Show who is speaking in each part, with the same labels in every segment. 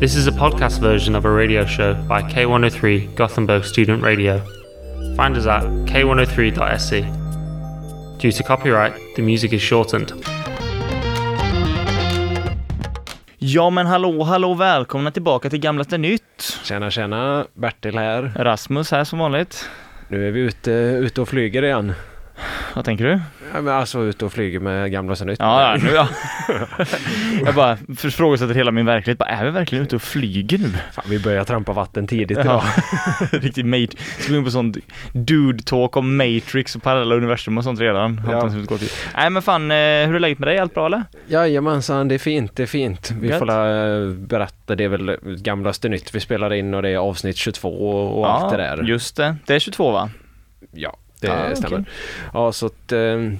Speaker 1: This is a podcast version of a radio show by K103 Gothenburg Student Radio. Find us at k103.se. E. Due to copyright, the music is shortened.
Speaker 2: Ja men hallå, hallå, välkomna tillbaka till Gamlaste Nytt!
Speaker 3: Tjena tjena, Bertil här.
Speaker 2: Rasmus här som vanligt.
Speaker 3: Nu är vi ute, ute och flyger igen.
Speaker 2: Vad tänker du?
Speaker 3: Ja, men alltså ute och flyger med gamla sen nytt.
Speaker 2: Ja, ja, nu ja. Jag bara frågesätter hela min verklighet. Bara, är vi verkligen ute och flyger nu?
Speaker 3: Fan, vi börjar trampa vatten tidigt idag.
Speaker 2: Ja. Riktigt mate. Ska gå in på sånt dude-talk om Matrix och parallella universum och sånt redan.
Speaker 3: Ja.
Speaker 2: Hoppas vi går till- Nej men fan, eh, hur är läget med dig? Allt bra eller?
Speaker 3: Jajamensan, det är fint, det är fint. Vi
Speaker 2: Gött.
Speaker 3: får la, eh, berätta, det är väl gamlaste nytt vi spelar in och det är avsnitt 22 och, och allt det där.
Speaker 2: Just det. Det är 22 va?
Speaker 3: Ja, det
Speaker 2: Ah, okej.
Speaker 3: stämmer. Ja, så att ehm,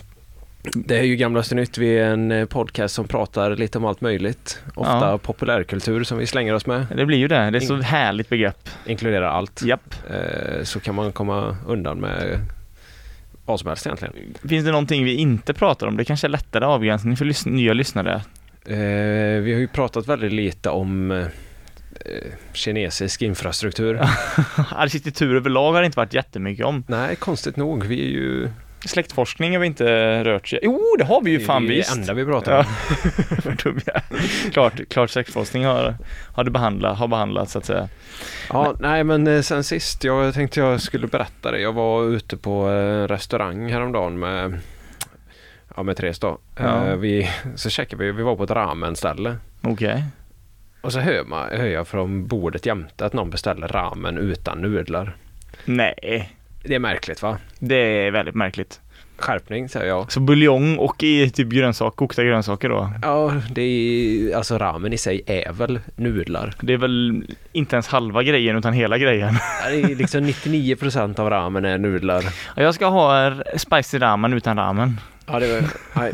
Speaker 3: det är ju Gamlaste Nytt. Vi är en eh, podcast som pratar lite om allt möjligt. Ofta
Speaker 2: Ja.
Speaker 3: populärkultur som vi slänger oss med.
Speaker 2: Det blir ju det. Det är så härligt begrepp.
Speaker 3: Inkluderar allt.
Speaker 2: Japp.
Speaker 3: Eh, så kan man komma undan med vad som helst egentligen.
Speaker 2: Finns det någonting vi inte pratar om? Det kanske är lättare avgränsning för lys- nya lyssnare.
Speaker 3: Eh, vi har ju pratat väldigt lite om eh, kinesisk infrastruktur.
Speaker 2: Arkitektur överlag har det inte varit jättemycket om.
Speaker 3: Nej, konstigt nog. Vi är ju
Speaker 2: Släktforskning har vi inte rört sig. Jo, det har vi ju fan
Speaker 3: det är ju det
Speaker 2: visst!
Speaker 3: enda vi pratar om.
Speaker 2: Ja. Vad dum jag är. klart, klart släktforskning har, har, det behandlat, har behandlat så att säga.
Speaker 3: Ja, nej men eh, sen sist, jag tänkte jag skulle berätta det. Jag var ute på eh, restaurang häromdagen med, ja med Therese då.
Speaker 2: Ja.
Speaker 3: Eh, Vi, så checkade vi, vi var på ett ramenställe.
Speaker 2: Okej.
Speaker 3: Och så hör, man, hör jag från bordet jämte att någon beställer ramen utan nudlar.
Speaker 2: Nej,
Speaker 3: Det är märkligt va?
Speaker 2: det är väldigt märkligt.
Speaker 3: Skärpning säger jag.
Speaker 2: Så buljong och i typ grönsak, kokta grönsaker då.
Speaker 3: Ja, det är, alltså ramen i sig är väl nudlar.
Speaker 2: Det är väl inte ens halva grejen utan hela grejen.
Speaker 3: Ja, Det är liksom 99% av ramen är nudlar.
Speaker 2: Jag ska ha r- spicy ramen utan ramen.
Speaker 3: Ja, det var, nej.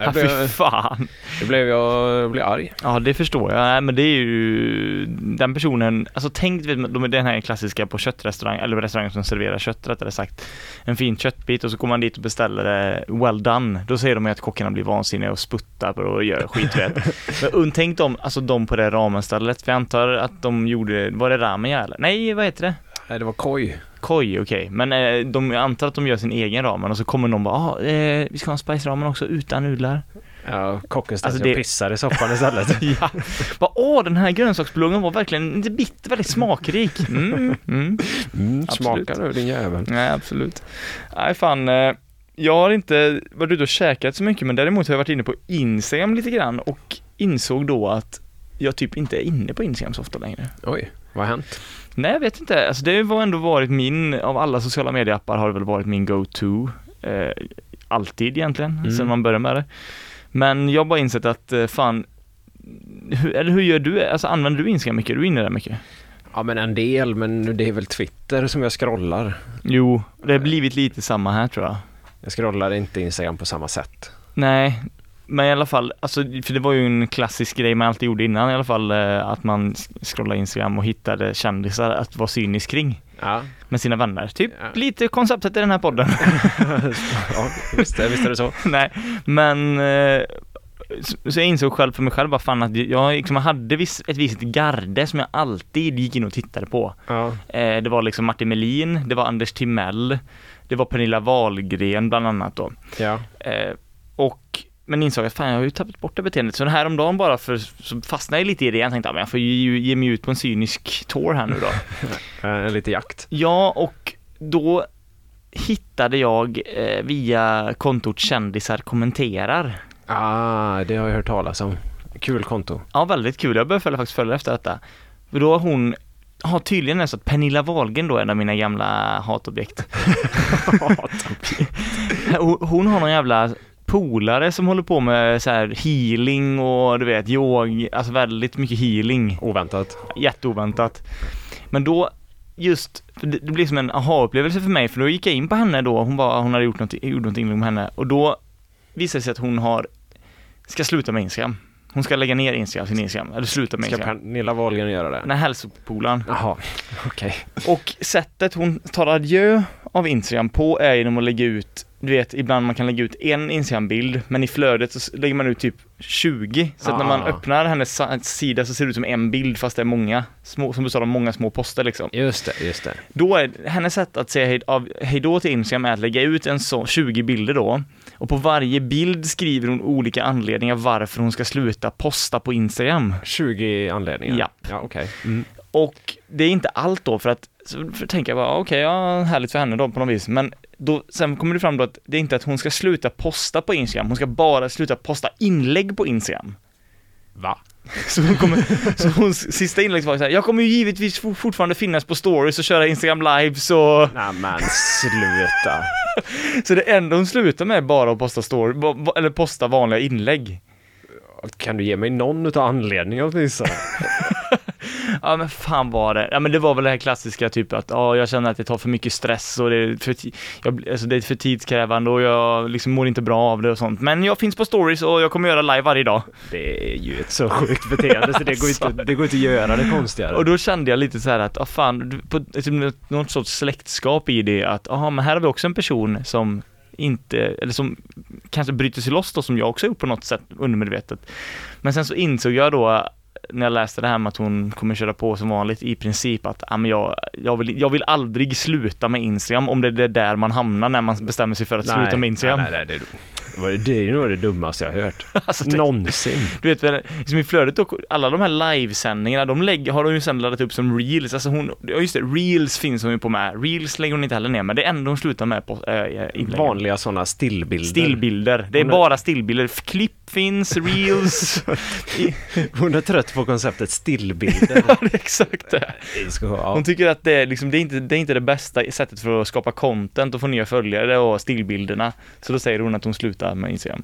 Speaker 2: Ja,
Speaker 3: Jag
Speaker 2: fy
Speaker 3: blev,
Speaker 2: fan.
Speaker 3: jag blev, jag blev arg.
Speaker 2: Ja, det förstår jag. Nej, men det är ju den personen, alltså tänk du vet, de är den här klassiska på köttrestaurang, eller restaurang som serverar kött rättare sagt. En fin köttbit och så går man dit och beställer det well done. Då säger de ju att kockarna blir vansinniga och sputtar på det och gör skit vet. Men un- tänk dem, alltså de på det ramenstället, för jag antar att de gjorde, var det ramen ja, eller? Nej, vad heter det?
Speaker 3: Nej, det var koj.
Speaker 2: Koj, okej. Men eh, de, jag antar att de gör sin egen ramen och så kommer någon bara, ah, eh, vi ska ha en spice ramen också utan nudlar.
Speaker 3: Ja, kocken ställde
Speaker 2: Alltså,
Speaker 3: sig
Speaker 2: det-
Speaker 3: och pissade i soffan istället.
Speaker 2: Ja. Bara, åh, den här grönsaksbuljongen var verkligen inte bitter, väldigt smakrik. Mm, mm.
Speaker 3: Mm,
Speaker 2: Absolut.
Speaker 3: smaka nu din jävel.
Speaker 2: Nej, absolut. Nej, fan. eh, Jag har inte varit ute och käkat så mycket, men däremot har jag varit inne på Instagram lite grann och insåg då att jag typ inte är inne på Instagram så ofta längre.
Speaker 3: Oj, vad har hänt?
Speaker 2: Nej, jag vet inte. Alltså, det har ändå varit min, av alla sociala medieappar har det väl varit min go-to. Eh, alltid egentligen,
Speaker 3: Mm.
Speaker 2: sedan man började med det. Men jag har bara insett att, eh, fan, hur, eller hur gör du? Alltså använder du Instagram mycket? Är du inne där mycket?
Speaker 3: Ja, men en del, men det är väl Twitter som jag scrollar.
Speaker 2: Jo, det har blivit lite samma här tror jag.
Speaker 3: Jag scrollar inte Instagram på samma sätt.
Speaker 2: Nej, men i alla fall, alltså, för det var ju en klassisk grej man alltid gjorde innan i alla fall, eh, att man scrollade Instagram och hittade kändisar att vara cynisk kring
Speaker 3: Ja,
Speaker 2: med sina vänner. Typ
Speaker 3: Ja.
Speaker 2: lite konceptet i den här podden.
Speaker 3: ja visst, är- visst är det så.
Speaker 2: Nej, men eh, så- så jag insåg själv för mig själv bara fan att jag liksom hade viss, ett visst garde som jag alltid gick in och tittade på.
Speaker 3: Ja,
Speaker 2: Eh, det var liksom Martin Melin, det var Anders Timell, det var Pernilla Wahlgren bland annat då.
Speaker 3: ja.
Speaker 2: Eh, och, men insåg att fan jag har ju tappat bort det beteendet. Så den här om dagen bara för, så fastnade jag lite i det igen. Tänkte ja, men jag får ju ge mig ut på en cynisk tour här nu då.
Speaker 3: Eh, lite jakt.
Speaker 2: ja, och då hittade jag eh, via kontot kändisar kommenterar.
Speaker 3: Ah, det har jag hört talas om. Kul konto.
Speaker 2: Ja, väldigt kul. Jag började följa, faktiskt följa efter detta. För då har hon, har tydligen är så att Pernilla Wahlgren då är en av mina gamla hatobjekt. Hon- hon har någon jävla polare som håller på med så här healing och du vet yoga, alltså väldigt mycket healing.
Speaker 3: Oväntat.
Speaker 2: Jätteoväntat. Men då, just, för det, det blev som en aha-upplevelse för mig, för då gick jag in på henne då, hon var, hon hade gjort någonting, gjorde någonting med henne, och då visade det sig att hon har, ska sluta med Instagram. Hon ska lägga ner Instagram, sin Instagram, eller sluta med
Speaker 3: Ska
Speaker 2: Instagram.
Speaker 3: Pernilla Wahlgren göra det?
Speaker 2: Den här hälsopolaren.
Speaker 3: Jaha, okej.
Speaker 2: Och sättet hon tar adjö av Instagram på är genom att lägga ut, du vet ibland man kan lägga ut en Instagram-bild, men i flödet så s- lägger man ut typ 20. Så att när man
Speaker 3: Ah.
Speaker 2: öppnar hennes sa- sida så ser det ut som en bild fast det är många, små, som du sa, de många små poster liksom.
Speaker 3: Just det, just det.
Speaker 2: Då är hennes sätt att säga hej, av, hej då till Instagram är att lägga ut en så, 20 bilder då. Och på varje bild skriver hon olika anledningar varför hon ska sluta posta på Instagram.
Speaker 3: 20 anledningar.
Speaker 2: Japp.
Speaker 3: Ja, okej.
Speaker 2: Och det är inte allt då för att, så för tänker jag bara okej, ja, härligt för henne då på något vis. Men då, sen kommer det fram då att det är inte att hon ska sluta posta på Instagram, hon ska bara sluta posta inlägg på Instagram.
Speaker 3: Va?
Speaker 2: Så hon kommer, så hons sista inlägg var så här, jag kommer ju givetvis for- fortfarande finnas på stories och köra Instagram lives och
Speaker 3: Nej men sluta.
Speaker 2: Så det enda hon slutar med är bara att posta story, ba- ba- eller posta vanliga inlägg.
Speaker 3: kan du ge mig någon utav anledningarna åtminstone?
Speaker 2: Ja men fan var det, ja men det var väl det här klassiska typ att ja jag känner att det tar för mycket stress och det är för, ti- jag, blir- alltså, det är för tidskrävande och jag liksom mår inte bra av det och sånt. Men jag finns på stories och jag kommer göra live varje dag.
Speaker 3: Det är ju ett så sjukt beteende så det går inte, det går inte att göra det konstigare.
Speaker 2: Och då kände jag lite så här att, ja fan, du- på, typ, något- något sorts släktskap i det att, ja men här har vi också en person som inte, eller som kanske bryter sig loss då som jag också gjort på något sätt undermedvetet. Men sen så insåg jag då när jag läste det här med att hon kommer köra på som vanligt i princip att ja, men jag, jag, vill, jag vill aldrig sluta med Instagram om det är där man hamnar när man bestämmer sig för att sluta med Instagram.
Speaker 3: Nej, nej, nej, det, var- det är ju nog det dummaste jag har hört.
Speaker 2: Alltså, det-
Speaker 3: Någonsin.
Speaker 2: Du vet, väl, liksom i flödet och alla de här livesändningarna, de lägger, har hon ju sen laddat upp som reels, alltså hon, ja just det, reels finns hon ju på med, reels lägger hon inte heller ner, men det är ändå hon slutar med på äh, inläggen.
Speaker 3: Vanliga sådana stillbilder.
Speaker 2: Stillbilder, det är
Speaker 3: Hon är-
Speaker 2: bara stillbilder, F- klipp finns, reels, I,
Speaker 3: Hon är trött på konceptet stillbilder.
Speaker 2: ja, det är exakt det.
Speaker 3: Vi ska ha- ja.
Speaker 2: Hon tycker att det är, liksom, det, är inte, det är inte det bästa sättet för att skapa content och få nya följare och stillbilderna. Så då säger hon att hon slutar med Instagram.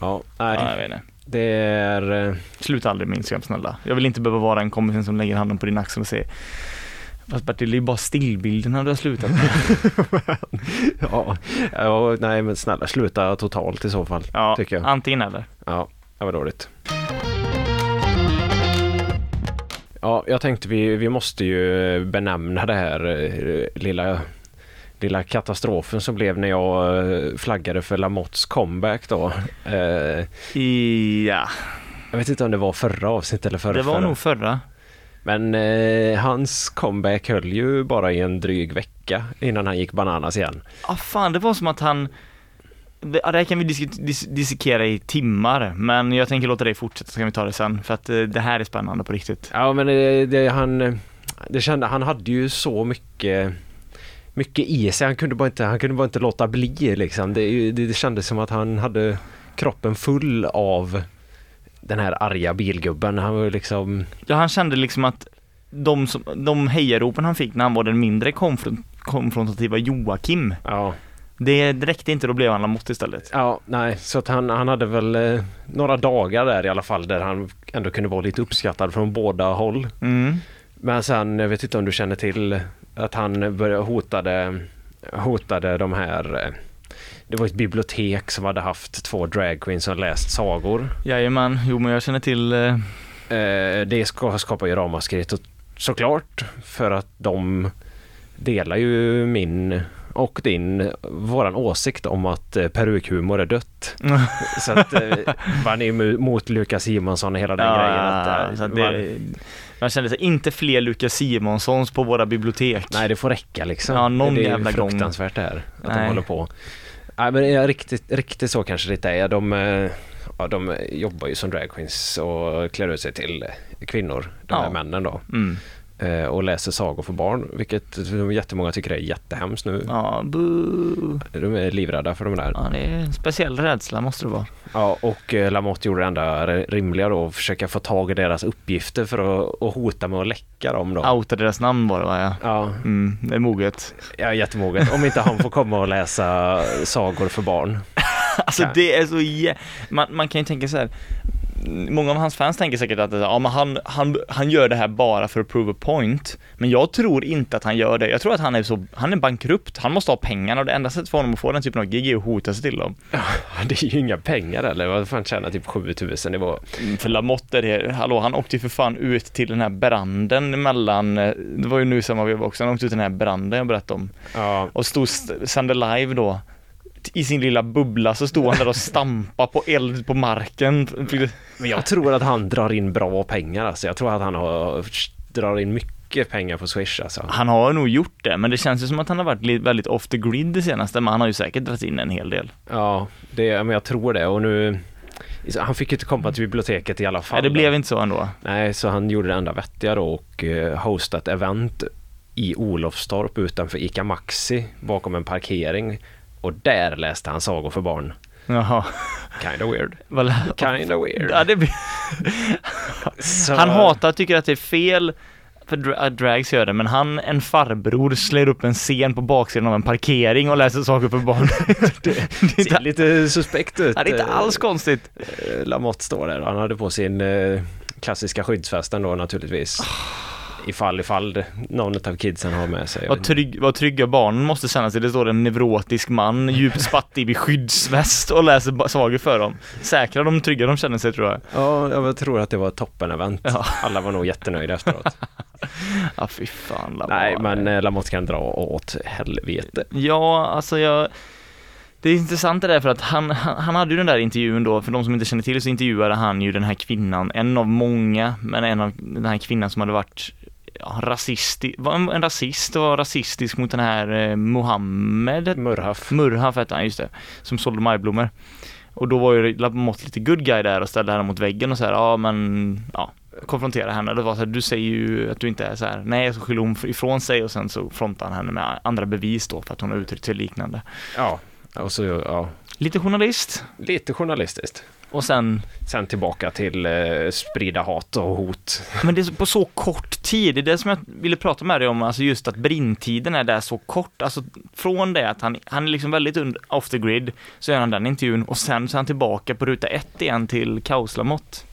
Speaker 3: Ja,
Speaker 2: Ja, jag
Speaker 3: nej.
Speaker 2: vet inte.
Speaker 3: Det är... eh,
Speaker 2: Sluta aldrig med Instagram snälla. Jag vill inte behöva vara en kompis som lägger handen på din axel och säger Fast Bertil, det är ju bara stillbilderna du har slutat med.
Speaker 3: Ja, ja, nej men snälla sluta totalt i så fall.
Speaker 2: Ja,
Speaker 3: Tycker jag.
Speaker 2: antingen eller.
Speaker 3: Ja, det var dåligt. Ja, jag tänkte vi, vi måste ju benämna det här eh, lilla, lilla katastrofen som blev när jag eh, flaggade för Lamotts comeback då. Eh,
Speaker 2: Ja,
Speaker 3: Jag vet inte om det var förra avsnittet eller förra,
Speaker 2: det var
Speaker 3: förra.
Speaker 2: nog förra.
Speaker 3: Men eh, hans comeback höll ju bara i en dryg vecka innan han gick bananas igen.
Speaker 2: Ja, fan, det var som att han... Det, ja, det här kan vi disk- dis- dissekera i timmar, men jag tänker låta dig fortsätta så kan vi ta det sen. För att eh, det här är spännande på riktigt.
Speaker 3: Ja men det, det, han, det kände, han hade ju så mycket mycket i sig. Han kunde bara inte, han kunde bara inte låta bli liksom. Det, är ju- det, det kändes som att han hade kroppen full av den här arga bilgubben. Han var ju liksom,
Speaker 2: Ja, han kände liksom att de, som, de hejaropen han fick när han var den mindre konfron- konfrontativa Joakim,
Speaker 3: ja,
Speaker 2: det räckte inte, då blev han Lamotte istället.
Speaker 3: ja nej. Så att han, han hade väl eh, några dagar där i alla fall där han ändå kunde vara lite uppskattad från båda håll.
Speaker 2: Mm.
Speaker 3: Men sen, jag vet inte om du känner till att han började hotade, hotade de här eh, det var ett bibliotek som hade haft två dragqueens som läst sagor.
Speaker 2: Jajamän, jo men jag känner till, eh,
Speaker 3: Eh, Det ska- skapar ju ramaskri to- såklart för att de delar ju min och din, våran åsikt om att eh, perukhumor är dött. Så att eh, man är ju mot Lukas Simonsson och hela den
Speaker 2: ja,
Speaker 3: grejen. Att, eh,
Speaker 2: så att
Speaker 3: man,
Speaker 2: det, man kände sig inte fler Lukas Simonssons på våra bibliotek.
Speaker 3: Nej, det får räcka liksom.
Speaker 2: Ja, någon
Speaker 3: det är ju
Speaker 2: jävla gång.
Speaker 3: fruktansvärt det här. Att de
Speaker 2: Nej.
Speaker 3: håller på. Nej, men det är riktigt, riktigt så kanske det inte är. De, eh, ja, de jobbar ju som dragqueens och klär ut sig till eh, kvinnor, de här
Speaker 2: Ja.
Speaker 3: männen då.
Speaker 2: Mm.
Speaker 3: eh, Och läser sagor för barn, vilket de jättemånga tycker är jättehemskt nu.
Speaker 2: Ja, bu.
Speaker 3: De är livrädda för de där.
Speaker 2: ja, det är en speciell rädsla måste det vara.
Speaker 3: Ja, och eh, Lamotte gjorde det enda rimliga då, att försöka få tag i deras uppgifter för att och hota med att läcka dem då.
Speaker 2: Outa deras namn bara va, ja.
Speaker 3: Ja,
Speaker 2: Mm, det är moget.
Speaker 3: jag är jättemoget. Om inte han får komma och läsa sagor för barn.
Speaker 2: Alltså
Speaker 3: Ja.
Speaker 2: det är så jä... man, man kan ju tänka så här. många av hans fans tänker säkert att ja, men han, han, han gör det här bara för att prove a point. Men jag tror inte att han gör det. Jag tror att han är så, han är bankrupt. Han måste ha pengarna och det enda sättet för honom att få den typen av gig är att hota sig till dem.
Speaker 3: Det är ju inga pengar eller vad fan tjänar typ 7000 det var.
Speaker 2: För Lamotte är det, hallå, han åkte ju för fan ut till den här branden mellan, eh, det var ju nu i samma veva också, han åkte ut till den här branden jag berättade om.
Speaker 3: Ja,
Speaker 2: Och stod, st- sände live då. I sin lilla bubbla så stod han där och stampade på eld på marken.
Speaker 3: men jag tror att han drar in bra pengar alltså. Jag tror att han har, drar in mycket pengar på Swish alltså.
Speaker 2: Han har nog gjort det, men det känns ju som att han har varit li- väldigt off the grid det senaste, men han har ju säkert dragit in en hel del.
Speaker 3: Ja, det, men jag tror det och nu han fick ju inte komma till biblioteket i alla fall.
Speaker 2: Nej, det blev inte så ändå.
Speaker 3: Nej, så han gjorde det enda vettiga då och eh, hostade ett event i Olofstorp utanför ICA Maxi bakom en parkering. Och där läste han sagor för barn.
Speaker 2: Jaha.
Speaker 3: Kinda weird.
Speaker 2: Vad-
Speaker 3: Kinda weird.
Speaker 2: Ja, det blir...
Speaker 3: Så-
Speaker 2: Han hatar, tycker att det är fel för dra- att drags gör det, men han, en farbror, slår upp en scen på baksidan av en parkering och läser saker för barn. det är
Speaker 3: Ser
Speaker 2: inte,
Speaker 3: lite suspekt ut.
Speaker 2: det är inte alls konstigt.
Speaker 3: Eh, Lamotte står där. Han hade på sin eh, klassiska skyddsvästen då
Speaker 2: Ah.
Speaker 3: naturligtvis. Ifall, ifall det- någon av kidsen har med sig.
Speaker 2: Vad, trygg, vad trygga barnen måste känna sig. Det står en neurotisk man, djupt spattig i skyddsväst och läser ba- sagor för dem. Säkra de trygga de känner sig tror jag.
Speaker 3: Ja, jag tror att det var ett toppen-event.
Speaker 2: Ja.
Speaker 3: Alla var nog jättenöjda efteråt.
Speaker 2: Ja, fy fan. Lamar.
Speaker 3: Nej, men eh, Lamotte kan dra åt helvete.
Speaker 2: Ja, alltså jag... Det är intressant det där för att han, han, han hade ju den där intervjun då, för de som inte känner till så intervjuade han ju den här kvinnan, en av många, men en av den här kvinnan som hade varit ja, rasistisk, var en, en rasist och var rasistisk mot den här eh, Mohammed,
Speaker 3: Murhaf.
Speaker 2: Murhaf hette han, just det, som sålde majblommor. Och då var ju Lamotte lite good guy där och ställde henne mot väggen och så här, ja men, ja, konfrontera henne. Det var så här, du säger ju att du inte är så här. nej, så skyller hon ifrån sig och sen så frontar han henne med andra bevis då för att hon har uttryckt sig liknande.
Speaker 3: Ja, och så, ja.
Speaker 2: Lite journalist
Speaker 3: Lite journalistiskt.
Speaker 2: och sen,
Speaker 3: Sen tillbaka till eh, sprida hat och hot.
Speaker 2: men det är så- på så kort tid, det är det som jag ville prata med dig om, alltså just att brintiden är där så kort, alltså från det att han, han är liksom väldigt under, off the grid, så gör han den intervjun och sen så är han tillbaka på ruta ett igen till kaoslamått.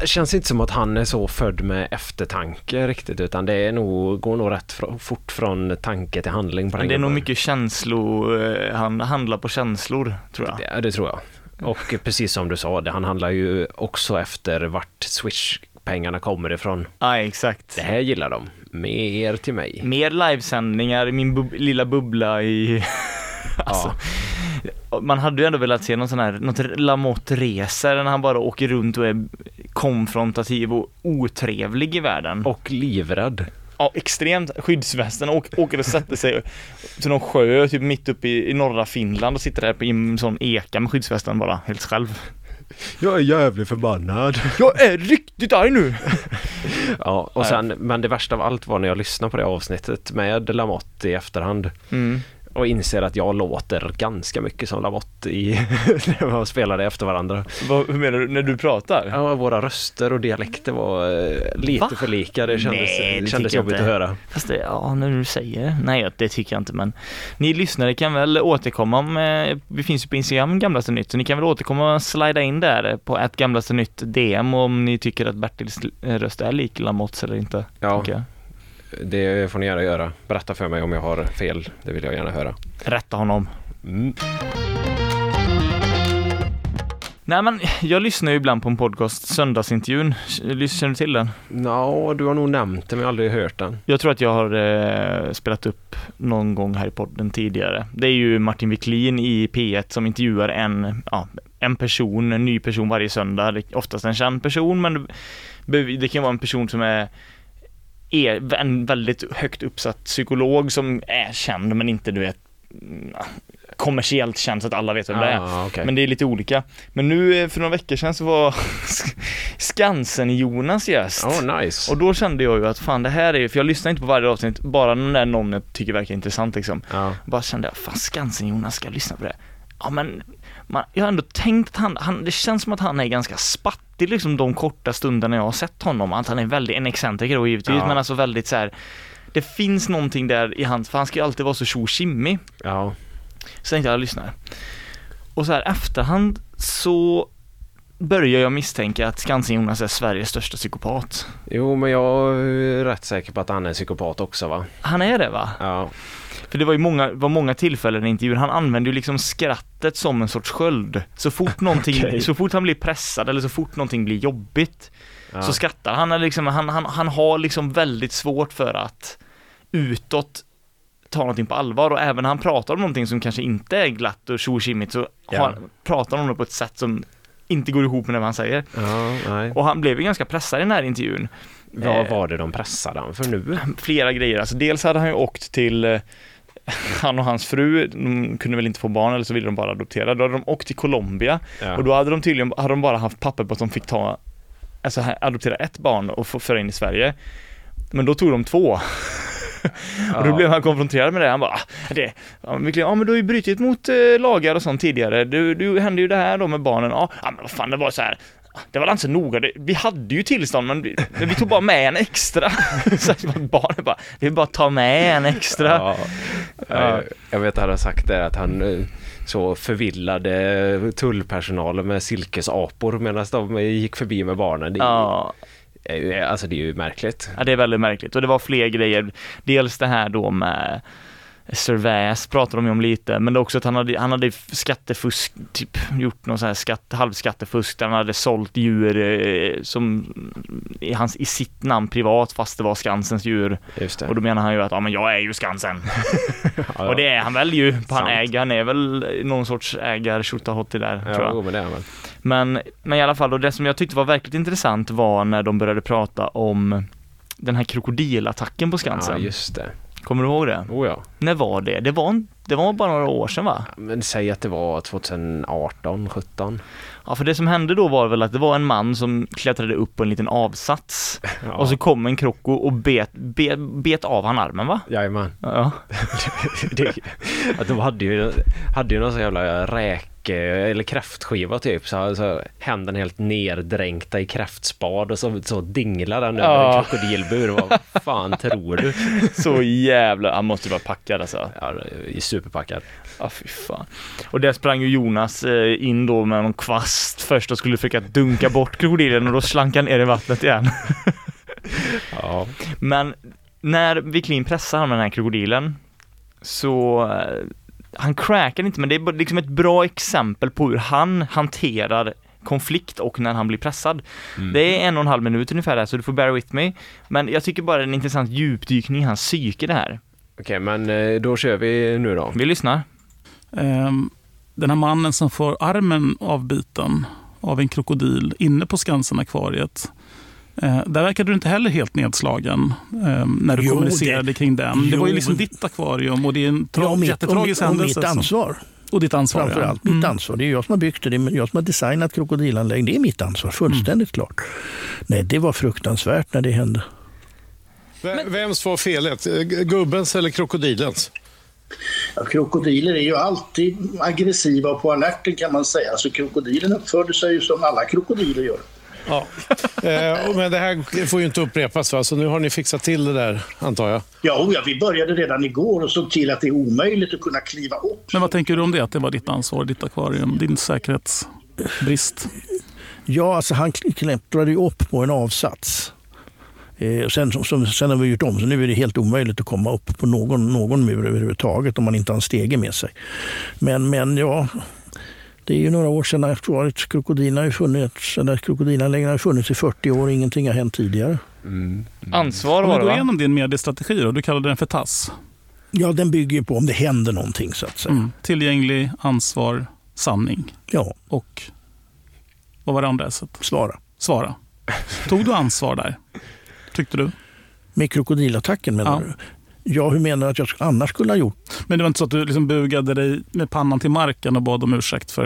Speaker 3: Det känns inte som att han är så född med eftertanke riktigt, utan det är nog, går nog rätt fr- fort från tanke till handling på den
Speaker 2: Men det är nog
Speaker 3: gubben.
Speaker 2: mycket känslor, eh, han handlar på känslor tror jag.
Speaker 3: Ja, det tror jag. Och precis som du sa, det, han handlar ju också efter vart Swish-pengarna kommer ifrån.
Speaker 2: Ja, exakt.
Speaker 3: Det här gillar de. Mer till mig.
Speaker 2: Mer livesändningar i min bub- lilla bubbla i... alltså, Man hade ju ändå velat se någon sån här, något Lamotte reser när han bara åker runt och är konfrontativ och otrevlig i världen. Och,
Speaker 3: Och livrädd.
Speaker 2: ja, extremt. Skyddsvästen och åker och sätter sig till någon sjö typ mitt uppe i, i norra Finland och sitter där på i en sån eka med skyddsvästen bara, helt själv.
Speaker 3: Jag är jävligt förbannad.
Speaker 2: Jag är riktigt arg nu!
Speaker 3: Ja, och sen, men det värsta av allt var när jag lyssnade på det avsnittet med Lamotte i efterhand
Speaker 2: Mm.
Speaker 3: och inser att jag låter ganska mycket som Lamotte i när man spelade efter varandra.
Speaker 2: Vad, hur menar du? När du pratar?
Speaker 3: Ja, våra röster och dialekter var eh, lite
Speaker 2: Va?
Speaker 3: för lika. Det kändes,
Speaker 2: Nej, det
Speaker 3: kändes
Speaker 2: tycker jag
Speaker 3: jobbigt
Speaker 2: inte.
Speaker 3: att höra.
Speaker 2: Fast det, ja, när du säger det. Nej, jag- det tycker jag inte, men ni lyssnare kan väl återkomma om, eh, vi finns ju på Instagram, Gamlaste Nytt, så ni kan väl återkomma och slida in där på ett Gamlaste Nytt DM om ni tycker att Bertils eh, röst är lik Lamottes eller inte.
Speaker 3: Ja,
Speaker 2: tänker jag.
Speaker 3: det får ni gärna göra. Berätta för mig om jag har fel. Det vill jag gärna höra.
Speaker 2: Rätta honom.
Speaker 3: Mm.
Speaker 2: Nej, men jag lyssnar ju ibland på en podcast, Söndagsintervjun. Känner du till den?
Speaker 3: Nå, du har nog nämnt det men jag har aldrig hört den.
Speaker 2: Jag tror att jag har eh, spelat upp någon gång här i podden tidigare. Det är ju Martin Wiklin i P1 som intervjuar en, ja, en person, en ny person varje söndag. Det är Oftast en känd person, men det- det kan vara en person som är är en väldigt högt uppsatt psykolog som är känd men inte du vet mm, kommersiellt känd så att alla vet vem det är.
Speaker 3: Ah, okej.
Speaker 2: Men det är lite olika. Men nu eh, för några veckor sedan så var Skansen-Jonas gäst.
Speaker 3: Åh, nice.
Speaker 2: Och då kände jag ju att fan det här är ju, för jag lyssnar inte på varje avsnitt, bara den där någon jag tycker verkar intressant liksom.
Speaker 3: ja.
Speaker 2: Bara kände jag, fan Skansen-Jonas ska jag lyssna på det. Ja men, man, jag har ändå tänkt att han, han, det känns som att han är ganska spattig liksom de korta stunderna jag har sett honom. Att han är väldigt, en excentriker då givetvis,
Speaker 3: Ja.
Speaker 2: men alltså väldigt så här. Det finns någonting där i hans, för han ska ju alltid vara så tjo och tjimmig.
Speaker 3: ja.
Speaker 2: Så tänkte jag, jag lyssnar. Och så här efterhand så börjar jag misstänka att Skansen-Jonas är Sveriges största psykopat.
Speaker 3: Jo, men jag är rätt säker på att han är en psykopat också va?
Speaker 2: Han är det va?
Speaker 3: Ja.
Speaker 2: För det var ju många, var många tillfällen i intervjun, han använde ju liksom skrattet som en sorts sköld. Så fort någonting,
Speaker 3: Okej.
Speaker 2: så fort han blir pressad eller så fort någonting blir jobbigt
Speaker 3: ja.
Speaker 2: så skrattar han. Han, är liksom, han, han. han har liksom väldigt svårt för att utåt ta någonting på allvar och även när han pratar om någonting som kanske inte är glatt och tjo och tjimmigt så
Speaker 3: Ja.
Speaker 2: har, pratar han om det på ett sätt som inte går ihop med vad han säger.
Speaker 3: ja, nej.
Speaker 2: Och han blev ju ganska pressad i den här intervjun.
Speaker 3: Vad var det de pressade han för nu?
Speaker 2: flera grejer. Alltså dels hade han ju åkt till eh, han och hans fru, de kunde väl inte få barn eller så ville de bara adoptera. Då hade de åkt till Colombia
Speaker 3: Ja.
Speaker 2: och då hade de tydligen hade de bara haft papper på att de fick ta, alltså här- adoptera ett barn och få föra in i Sverige. Men då tog de två. Och då
Speaker 3: Ja.
Speaker 2: blev han konfronterad med det. Han bara, "Ah, det, ja, men verkligen, ja men du har ju brutit mot eh, lagar och sånt tidigare. Du, du hände ju det här då med barnen. Ja, ja, men vad fan det var så här. Det var inte så noga, det, vi hade ju tillstånd men vi, men vi tog bara med en extra. så att barnen bara, vi vill bara ta med en extra.
Speaker 3: Ja.
Speaker 2: Ja.
Speaker 3: Jag, jag vet att han har sagt det att han eh, så förvillade tullpersonalen med silkesapor medan de gick förbi med barnen. Det är,
Speaker 2: Ja,
Speaker 3: är ju- Alltså det är ju märkligt.
Speaker 2: ja, det är väldigt märkligt. Och det var fler grejer. Dels det här då med Servais pratar de ju om lite, men det är också att han hade, han hade skattefusk, typ gjort någon sån här skatt, halvskattefusk där han hade sålt djur eh, som i, hans, i sitt namn privat fast det var Skansens djur.
Speaker 3: Just det.
Speaker 2: Och då menar han ju att ja men jag är ju Skansen.
Speaker 3: ja,
Speaker 2: Och det är han väl ju, han
Speaker 3: Sant.
Speaker 2: äger, han är väl någon sorts ägar Tjottahotti där
Speaker 3: ja,
Speaker 2: tror jag.
Speaker 3: Jo, men det är han väl.
Speaker 2: Men, men i alla fall, och det som jag tyckte var verkligt intressant var när de började prata om den här krokodilattacken på
Speaker 3: Ja,
Speaker 2: Skansen.
Speaker 3: just det.
Speaker 2: Kommer du ihåg det?
Speaker 3: Oh, ja.
Speaker 2: När var det? Det var, en, det var bara några år sedan va?
Speaker 3: Men säg att det var 2018, 17.
Speaker 2: Ja, för det som hände då var väl att det var en man som klättrade upp på en liten avsats och så kom en kroko och bet, bet, bet av han armen va?
Speaker 3: Jajamän.
Speaker 2: Ja.
Speaker 3: Det- att de hade ju, hade ju någon sån jävla räk eh, eller kräftskiva typ så, så händerna helt neddränkta i kräftspad och så, så dinglar den över
Speaker 2: Ja.
Speaker 3: en krokodilbur. Vad fan tror du?
Speaker 2: Så jävla, han måste ju vara packad alltså.
Speaker 3: Ja, i superpackad.
Speaker 2: Ja, fy fan. Och där sprang ju Jonas eh, in då med någon kvast först och skulle försöka dunka bort krokodilen och då slank han ner i vattnet igen.
Speaker 3: Ja.
Speaker 2: Men när Wiklin pressar han med den här krokodilen så eh, han crackar inte, men det är bara liksom ett bra exempel på hur han hanterar konflikt och när han blir pressad. Det är en och en halv minut ungefär där, så du får bear with me. Men jag tycker bara det är en intressant djupdykning i hans psyke det här.
Speaker 3: Okej, men eh, då kör vi nu då.
Speaker 2: Vi lyssnar.
Speaker 4: Ehm, Den här mannen som får armen avbiten av en krokodil inne på Skansen-akvariet. Eh, Där verkade du inte heller helt nedslagen ehm, när du
Speaker 5: Jo,
Speaker 4: kommunicerade kring den. Det var ju
Speaker 5: jo,
Speaker 4: liksom
Speaker 5: men-
Speaker 4: ditt akvarium och det är en tra-
Speaker 5: Ja, mitt-
Speaker 4: jättetragisk
Speaker 5: och mitt,
Speaker 4: händelse.
Speaker 5: Och mitt
Speaker 4: som-
Speaker 5: ansvar,
Speaker 4: och ditt ansvar. Mm.
Speaker 5: framför allt. Mitt ansvar. Det är jag som har byggt det, det är jag som har designat krokodilanläggningen. Det är mitt ansvar, fullständigt klart. Nej, det var fruktansvärt när det hände.
Speaker 6: V- Vems var felet? Eh, g- Gubbens eller krokodilens?
Speaker 7: Ja, krokodiler är ju alltid aggressiva och på alerten kan man säga. Så krokodilen uppförde sig ju som alla krokodiler gör.
Speaker 6: Ja. Eh, och- Men det här får ju inte upprepas, va? så nu har ni fixat till det där, antar jag.
Speaker 7: Ja, oh ja, vi började redan igår och såg till att det är omöjligt att kunna kliva upp.
Speaker 4: Men vad tänker du om det? Att det var ditt ansvar, ditt akvarium, din säkerhetsbrist?
Speaker 5: Ja, alltså han kl- klättrade ju upp på en avsats. Eh, och sen, som, som, sen har vi gjort om, så nu är det helt omöjligt att komma upp på någon, någon mur överhuvudtaget om man inte har en stege med sig. Men, men ja, det är ju några år sedan aktuariet. Krokodilen har ju funnits, eller krokodilanläggningen har ju funnits i 40 år och ingenting har hänt tidigare.
Speaker 2: Ansvar
Speaker 4: Om
Speaker 2: var
Speaker 4: vi
Speaker 2: det
Speaker 4: går
Speaker 2: va?
Speaker 4: igenom din mediestrategi då, du kallade den för TASS.
Speaker 5: Ja, den bygger ju på om det händer någonting så att säga.
Speaker 4: Mm. Tillgänglig, ansvar, sanning
Speaker 5: Ja,
Speaker 4: och vad var det andra S-et?
Speaker 5: svara.
Speaker 4: Svara. Tog du ansvar där? Tyckte du?
Speaker 5: Med krokodilattacken menar
Speaker 4: Ja.
Speaker 5: du? Ja, hur menar du att jag sk- annars skulle ha gjort?
Speaker 4: Men det var inte så att du liksom bugade dig med pannan till marken och bad om ursäkt för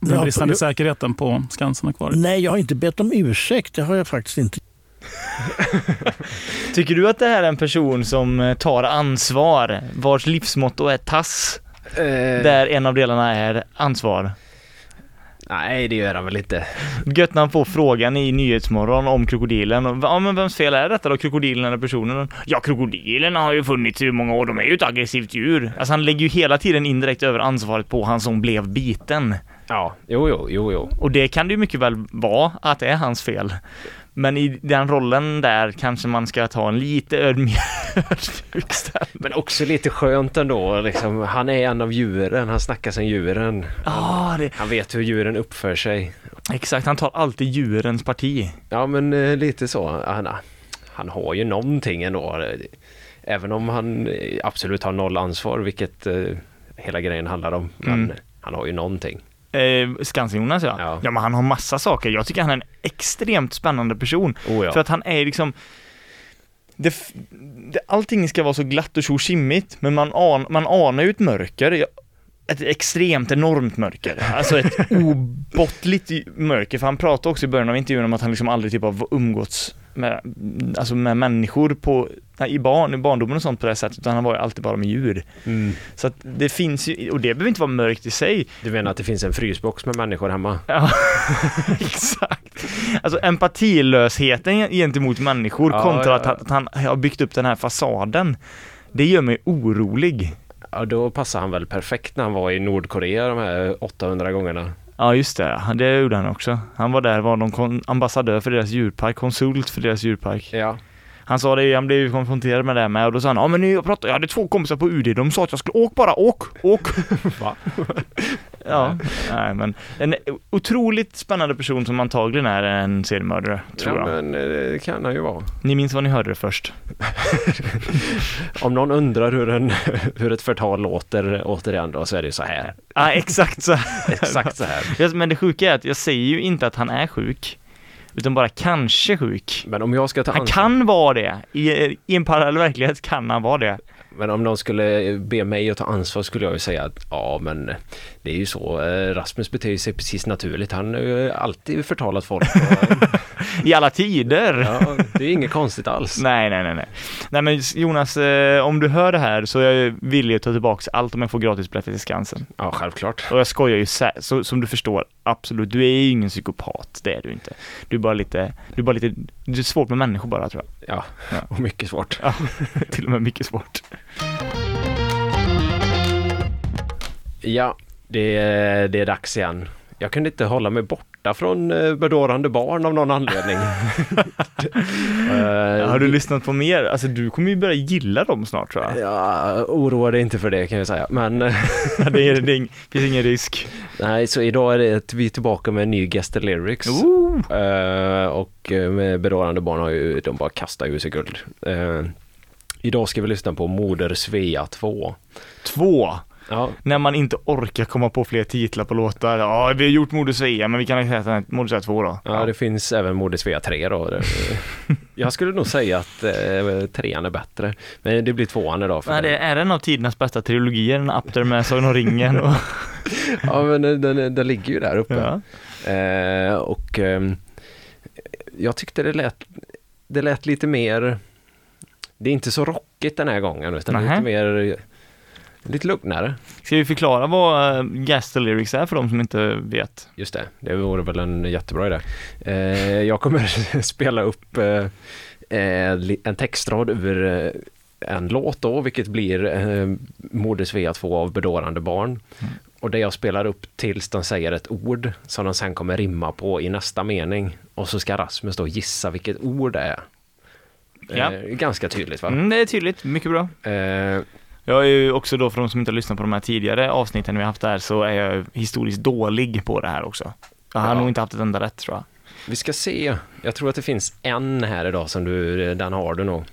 Speaker 4: den
Speaker 5: Ja,
Speaker 4: bristande
Speaker 5: jag-
Speaker 4: säkerheten på Skansen-akvariet?
Speaker 5: Nej, jag har inte bett om ursäkt. Det har jag faktiskt inte.
Speaker 2: Tycker du att det här är en person som eh, tar ansvar, vars livsmotto är tass,
Speaker 3: Eh,
Speaker 2: där en av delarna är ansvar?
Speaker 3: nej, det gör han väl inte.
Speaker 2: Gött när han får frågan i Nyhetsmorgon om krokodilen. Och, Ja men vems fel är detta då? Krokodilen eller personen? Ja krokodilen har ju funnits i hur många år, de är ju ett aggressivt djur. Alltså han lägger ju hela tiden indirekt över ansvaret på han som blev biten.
Speaker 3: Ja, jo, jo, jo, jo.
Speaker 2: Och det kan det ju mycket väl vara att det är hans fel. Men i den rollen där kanske man ska ta en lite ödmjuk ödmjuk ställning.
Speaker 3: Men också lite skönt ändå. Liksom. Han är en av djuren, han snackar som djuren.
Speaker 2: Ja, Ah, det,
Speaker 3: Han vet hur djuren uppför sig.
Speaker 2: exakt. Han tar alltid djurens parti.
Speaker 3: Ja, men eh, lite så. Han, han har ju någonting ändå. Även om han eh, absolut har noll ansvar, vilket eh, hela grejen handlar om.
Speaker 2: Mm.
Speaker 3: Men han har ju någonting.
Speaker 2: Eh, Skansen-Jonas ja.
Speaker 3: Ja.
Speaker 2: ja. men han har massa saker. Jag tycker han är en extremt spännande person.
Speaker 3: Oh, ja.
Speaker 2: För att han är liksom det, f- det, allting ska vara så glatt och tjochimmigt, men man, an, man anar ju ett mörker. Jag, ett extremt enormt mörker, alltså ett obottligt mörker, för han pratade också i början av intervjun om att han liksom aldrig typ har umgåtts med, alltså med människor på, i, barn, i barndomen och sånt på det här sättet, utan han var ju alltid bara med djur. Så att det finns ju, och det behöver inte vara mörkt i sig,
Speaker 3: Du menar att det finns en frysbox med människor hemma?
Speaker 2: Ja, exakt. Alltså empatilösheten gentemot människor
Speaker 3: Ja,
Speaker 2: kontra
Speaker 3: ja,
Speaker 2: Att, han, att han har byggt upp den här fasaden. Det gör mig orolig.
Speaker 3: Ja, då passar han väl perfekt när han var i Nordkorea de här 800 gångerna.
Speaker 2: Ja, just det. Det gjorde han också. Han var där, var någon kon- ambassadör för deras djurpark, konsult för deras djurpark.
Speaker 3: Ja.
Speaker 2: Han sa det, han blev ju konfronterad med det här med och då sa han ja men nu jag pratade, jag hade två kompisar på UD, de sa att jag skulle, åk bara, åk, åk.
Speaker 3: Va?
Speaker 2: ja, nej men en otroligt spännande person som antagligen är en seriemördare, tror
Speaker 3: ja,
Speaker 2: jag.
Speaker 3: men eh, det kan han ju vara.
Speaker 2: Ni minns vad ni hörde det först?
Speaker 3: Om någon undrar hur, en, hur ett förtal låter återigen då så är det ju så här.
Speaker 2: Ja, ah, exakt så.
Speaker 3: Exakt så här.
Speaker 2: Jag- Men det sjuka är att jag säger ju inte att han är sjuk, utan bara kanske sjuk.
Speaker 3: Men om jag ska ta
Speaker 2: Han
Speaker 3: ansvar,
Speaker 2: kan vara det. I, I en parallell verklighet kan han vara det.
Speaker 3: men om någon skulle be mig att ta ansvar skulle jag ju säga att ja men det är ju så, eh, Rasmus beter sig precis naturligt, han har ju alltid förtalat folk. Och,
Speaker 2: I alla tider.
Speaker 3: ja, det är inget konstigt alls.
Speaker 2: Nej, nej, nej, nej. Nej men Jonas, eh, om du hör det här så är jag villig att ta tillbaka allt om jag får gratisbiljetter till Skansen.
Speaker 3: Ja, självklart.
Speaker 2: Och jag skojar ju, sä- så, som du förstår, absolut. Du är ju ingen psykopat, det är du inte. Du är bara lite, du är bara lite, det är svårt med människor bara tror jag.
Speaker 3: Ja,
Speaker 2: Ja.
Speaker 3: och mycket svårt.
Speaker 2: Ja, till och med mycket svårt.
Speaker 3: Ja, det, är- det är dags igen. Jag kunde inte hålla mig borta från eh, bedårande barn av någon anledning. Eh,
Speaker 2: Har du lyssnat på mer? Alltså du kommer ju börja gilla dem snart tror jag.
Speaker 3: Ja, oroa dig inte för det kan jag säga. Men eh,
Speaker 2: Ja, det, är, det är ing- finns ingen risk.
Speaker 3: nej, så idag är det att vi är tillbaka med en ny Guest Lyrics.
Speaker 2: Ooh.
Speaker 3: Eh, och eh, med bedårande barn har ju, de bara kastar ur sig guld. Eh, idag ska vi lyssna på Moder Svea 2.
Speaker 2: Två.
Speaker 3: Ja,
Speaker 2: När man inte orkar komma på fler titlar på låtar. Ja, vi har gjort Moder Svea, men vi kan säga att den är Moder Svea 2 då.
Speaker 3: ja, det finns även Moder Svea 3 då. Eh, jag skulle nog säga att eh, trean är bättre. Men det blir tvåan idag. För
Speaker 2: Nej,
Speaker 3: den-
Speaker 2: det är en av tidernas bästa trilogier, den Apter med Sagan om ringen och...
Speaker 3: Ja, men den, den, den ligger ju där uppe.
Speaker 2: Ja.
Speaker 3: Eh, och ehm, jag tyckte det lät, det lät lite mer, det är inte så rockigt den här gången, utan det är
Speaker 2: Nähä.
Speaker 3: lite mer, lite lugnare.
Speaker 2: Ska vi förklara vad eh, Gaster Lyrics är för de som inte vet?
Speaker 3: Just det, det vore väl en jättebra idé. Eh, jag kommer spela upp eh, eh, li- en textrad ur eh, en låt då, vilket blir eh, Moder Svea 2 av Bedårande barn.
Speaker 2: Mm.
Speaker 3: Och det jag spelar upp tills de säger ett ord som de sen kommer rimma på i nästa mening. Och så ska Rasmus då gissa vilket ord det är.
Speaker 2: Ja.
Speaker 3: Eh, ganska tydligt va?
Speaker 2: Mm, det är tydligt, mycket bra.
Speaker 3: Eh,
Speaker 2: Jag är ju också då, för de som inte har lyssnat på de här tidigare avsnitten vi har haft där, så är jag historiskt dålig på det här också. Jag har
Speaker 3: Ja.
Speaker 2: nog inte haft ett enda rätt tror jag.
Speaker 3: vi ska se, jag tror att det finns en här idag som du, eh, den har du nog.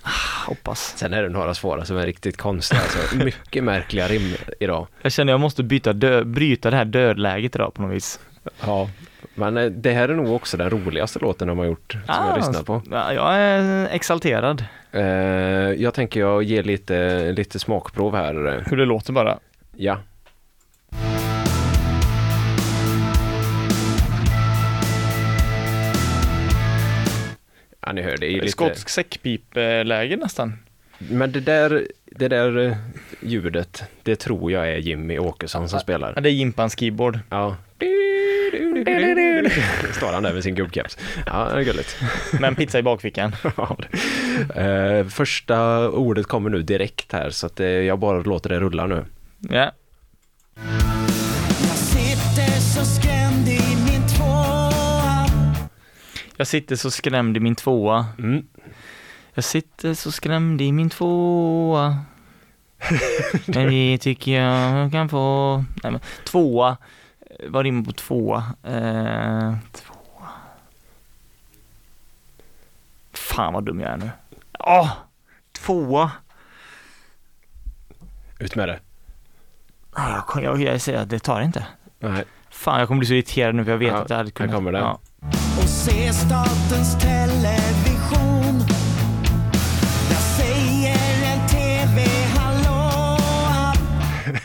Speaker 2: Hoppas.
Speaker 3: Sen är det några svåra som är riktigt konstiga. Alltså, mycket märkliga rim idag.
Speaker 2: Jag känner jag måste byta dö- bryta det här dödläget idag på något vis.
Speaker 3: Ja. Men eh, det här är nog också den roligaste låten de har gjort, som jag lyssnar på.
Speaker 2: Ah, Ja, jag är exalterad.
Speaker 3: Eh, jag tänker jag ger lite, lite smakprov här.
Speaker 2: Hur det låter bara.
Speaker 3: Ja. Ja, ni hör, det är ju lite...
Speaker 2: Skotsk säckpipläge nästan.
Speaker 3: Men det där, det där eh, ljudet, det tror jag är Jimmy Åkesson som spelar.
Speaker 2: Ja, det är Jimpans keyboard.
Speaker 3: Ja. Står han där med sin gubbkeps. Ja, det är gulligt.
Speaker 2: Med en pizza i bakfickan.
Speaker 3: Ja, det- Eh, första ordet kommer nu direkt här så att eh, jag bara låter det rulla nu.
Speaker 2: Ja.
Speaker 8: Jag sitter så skrämd
Speaker 2: Jag sitter så skrämd i min tvåa.
Speaker 3: Mm.
Speaker 2: Jag sitter så skrämd i min tvåa. men det tycker jag jag kan få. Nej, men, tvåa. Eh, Vad rimmar på tvåa? Eh, tvåa. Fan vad dum jag är nu. Åh! tvåa.
Speaker 3: Ut med det.
Speaker 2: Nej, jag, kom- Ah, jag, jag säger att det tar inte.
Speaker 3: Nej.
Speaker 2: Fan, jag kommer bli så irriterad nu för jag vet
Speaker 3: Ja,
Speaker 2: att jag hade
Speaker 3: här
Speaker 2: kunnat.
Speaker 3: kommer den.
Speaker 2: Ja.
Speaker 8: och se statens television. Där säger en TV hallå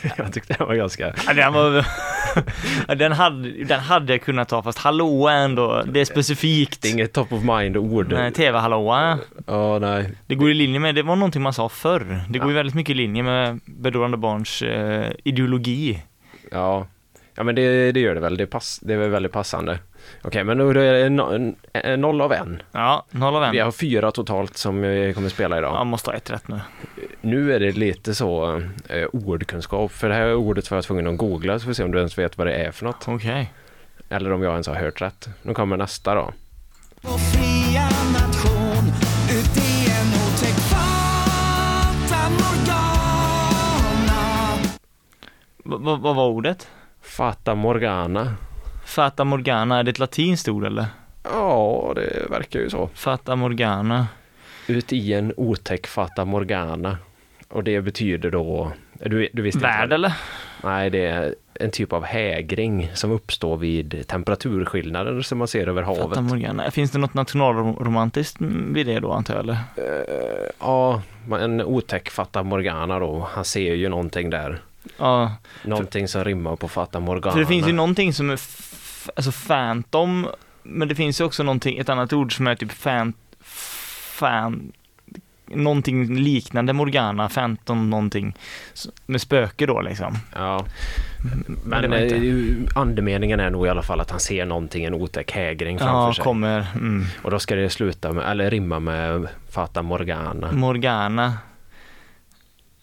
Speaker 8: att
Speaker 3: Jag tyckte det var ganska...
Speaker 2: Ja, Den, var, Ja, den, hade, den hade jag kunnat ta, fast hallå är ändå, det är specifikt.
Speaker 3: Det är inget top of mind-ord.
Speaker 2: Nej, TV-hallåa.
Speaker 3: Ja, nej.
Speaker 2: Det går i linje med, det var någonting man sa förr. Det går ju väldigt mycket i linje med Bedårande Barns eh, ideologi.
Speaker 3: Ja. Ja men det, det gör det väl. Det, pass, det är väl väldigt passande. Okej men då är det no, en, en noll av en.
Speaker 2: Ja, noll av en.
Speaker 3: Vi har fyra totalt som vi kommer spela idag.
Speaker 2: Jag måste ha ett rätt nu.
Speaker 3: Nu är det lite så eh, ordkunskap. För det här ordet var jag tvungen att googla så får vi se om du ens vet vad det är för något.
Speaker 2: Okej.
Speaker 3: Eller om jag ens har hört rätt. Nu kommer nästa då.
Speaker 8: vår fria nation ut i en otäck fata morgana.
Speaker 2: Va- va- Vad var ordet?
Speaker 3: Fata Morgana.
Speaker 2: Fata Morgana, är det ett latinskt ord eller?
Speaker 3: Ja, det verkar ju så.
Speaker 2: Fata Morgana.
Speaker 3: Ut i en otäck Fata Morgana. Och det betyder då... Du, du visste inte vad
Speaker 2: Värld
Speaker 3: det-
Speaker 2: eller?
Speaker 3: Nej, det är en typ av hägring som uppstår vid temperaturskillnader som man ser över havet.
Speaker 2: Fata Morgana. Finns det något nationalromantiskt vid det då antar jag eller?
Speaker 3: Ja, en otäck Fata Morgana då. Han ser ju någonting där.
Speaker 2: Ja.
Speaker 3: Någonting som rimmar på Fata Morgana.
Speaker 2: För det finns ju någonting som är f- alltså phantom, men det finns ju också någonting, ett annat ord som är typ fan, fan, någonting liknande Morgana, phantom någonting, s- med spöke då liksom.
Speaker 3: Ja.
Speaker 2: Men det
Speaker 3: Men
Speaker 2: var inte-
Speaker 3: eh, andemeningen är nog i alla fall att han ser någonting, en otäck hägring framför
Speaker 2: Ja,
Speaker 3: sig.
Speaker 2: kommer, mm.
Speaker 3: Och då ska det sluta med, eller rimma med Fata Morgana.
Speaker 2: Mm. Morgana.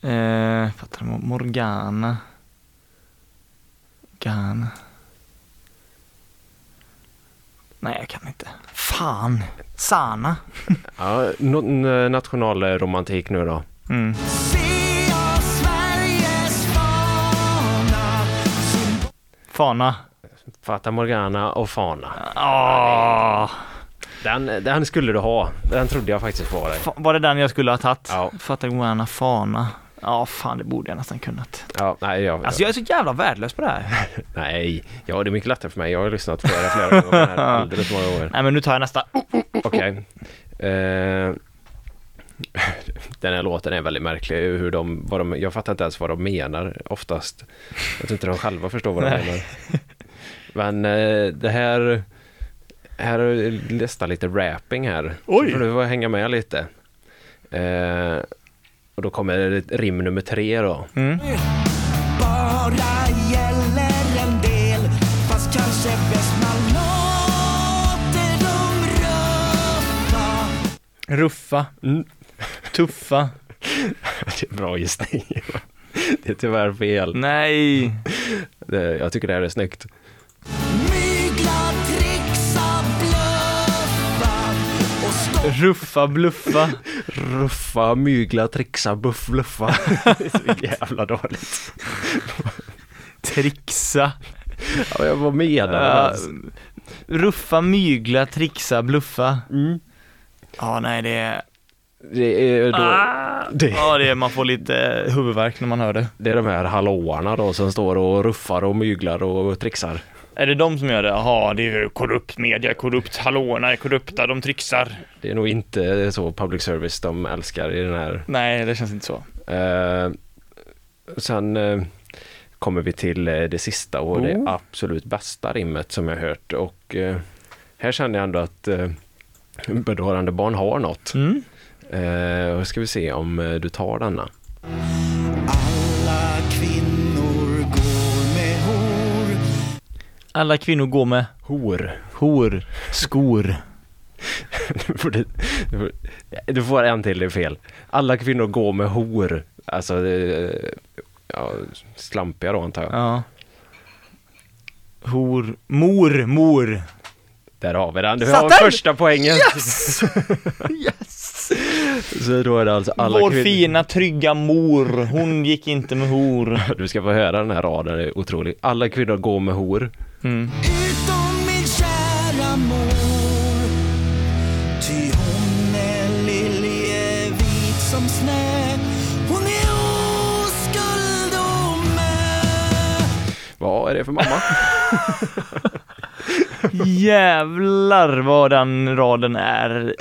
Speaker 2: Eh, fattar du, Mo- Morgana. Morgana. Nej, jag kan inte. Fan. Sana.
Speaker 3: Ja, no- nationalromantik nu då.
Speaker 2: Mm.
Speaker 8: Se oss Sveriges fana.
Speaker 2: Fana.
Speaker 3: Fata Morgana och Fana.
Speaker 2: Ah,
Speaker 3: Den, den skulle du ha. Den trodde jag faktiskt på dig.
Speaker 2: fa- var det den jag skulle ha tagit?
Speaker 3: Ja.
Speaker 2: Fattar gärna fana. Ja, fan det borde jag nästan kunnat.
Speaker 3: Ja, nej, jag,
Speaker 2: Alltså jag är så jävla värdelös på det här.
Speaker 3: nej, ja, det är mycket lättare för mig. Jag har ju lyssnat på det här flera gånger. här, Alldeles för många gånger.
Speaker 2: Nej men nu tar jag nästa.
Speaker 3: Okej. Eh, den här låten är väldigt märklig. Hur de, vad de, jag fattar inte ens vad de menar oftast. Jag tror inte de själva förstår vad de
Speaker 2: Nej.
Speaker 3: menar. Men eh, det här... Här är nästan lite rapping här. Oj! Så får du får hänga med lite. Eh, och då kommer rim nummer tre då.
Speaker 8: Bara gäller en del Fast kanske bäst man låter dem rösta
Speaker 2: Ruffa. Tuffa.
Speaker 3: Det är bra gissning. Det är tyvärr
Speaker 2: Mm.
Speaker 3: fel.
Speaker 2: Nej.
Speaker 3: Det, jag tycker det här är snyggt.
Speaker 8: Mygla, trixa, blöffa Och stå
Speaker 2: Ruffa, bluffa.
Speaker 3: Ruffa, mygla, trixa, buff, bluffa. Det är så jävla dåligt.
Speaker 2: Trixa.
Speaker 3: Ja, jag var med
Speaker 2: Ja,
Speaker 3: där.
Speaker 2: ruffa, mygla, trixa, bluffa. Ja, nej det är...
Speaker 3: Det är, då, det,
Speaker 2: Ja, det är, man får lite eh, huvudvärk när man hör det.
Speaker 3: det är de här hallåarna då som står och ruffar och myglar och trixar.
Speaker 2: Är det de som gör det? Jaha, det är ju korrupt media, är korrupt, hallåorna är korrupta, de trixar.
Speaker 3: Det är nog inte så public service de älskar i den här.
Speaker 2: Nej, det känns inte så.
Speaker 3: Eh, sen eh, kommer vi till eh, det sista och det absolut bästa rimmet som jag hört. Och eh, här känner jag ändå att eh, bedårande barn har något.
Speaker 2: Mm.
Speaker 3: Eh, och ska vi se om eh, du tar denna.
Speaker 8: Alla kvinnor går med hor
Speaker 2: Alla kvinnor går med
Speaker 3: Hor.
Speaker 2: hor, skor.
Speaker 3: Du får- du får- du får en till, det är fel. Alla kvinnor går med hor. Alltså, eh, ja, slampiga då antar jag.
Speaker 2: Ja. Hor, mor, mor.
Speaker 3: Där har vi den. Du
Speaker 2: Satt
Speaker 3: har
Speaker 2: den?
Speaker 3: första poängen.
Speaker 2: Yes! yes!
Speaker 3: Så då är det alltså alla
Speaker 2: Vår
Speaker 3: kvin-
Speaker 2: fina trygga mor, hon gick inte med hor.
Speaker 3: Du ska få höra den här raden, det är otroligt. Alla kvinnor går med hor.
Speaker 8: Utom min kära mor Ty hon är liljevit som snö Hon är oskuld och mö
Speaker 3: Vad är det för mamma?
Speaker 2: Jävlar vad den raden är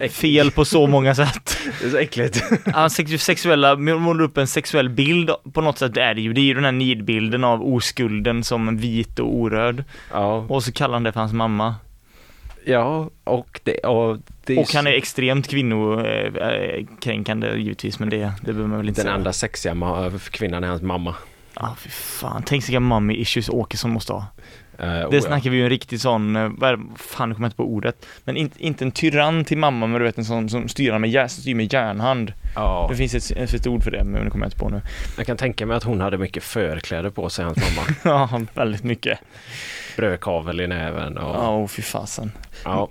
Speaker 2: eh, fel på så många sätt.
Speaker 3: Det är så äckligt.
Speaker 2: Han sex- sexuella, målar upp en sexuell bild på något sätt, det är det ju. Det är ju den här nidbilden av oskulden som vit och orörd.
Speaker 3: Ja,
Speaker 2: Och så kallar han det för hans mamma.
Speaker 3: ja och det... Och, det
Speaker 2: Och han är extremt kvinnokränkande givetvis, men det, det behöver man väl inte
Speaker 3: Den
Speaker 2: säga.
Speaker 3: enda sexiga ma- kvinnan är hans mamma.
Speaker 2: Ja, ah, fy fan. Tänk vilka mommy issues Åkesson måste ha.
Speaker 3: Eh,
Speaker 2: Det
Speaker 3: oh,
Speaker 2: snackar vi ju en riktig sån, eh, vad är det- fan jag kommer inte på ordet, men in, inte en tyrann till mamma men du vet en sån som styr han med, jär, som styr med järnhand.
Speaker 3: ja.
Speaker 2: Det
Speaker 3: Ja.
Speaker 2: finns ett, ett, ett ord för det men det kommer jag inte på nu.
Speaker 3: Jag kan tänka mig att hon hade mycket förkläder på sig, hans mamma.
Speaker 2: Ja, väldigt mycket.
Speaker 3: Brödkavel i näven
Speaker 2: Ja,
Speaker 3: och... Ja.
Speaker 2: oh, fy fasen.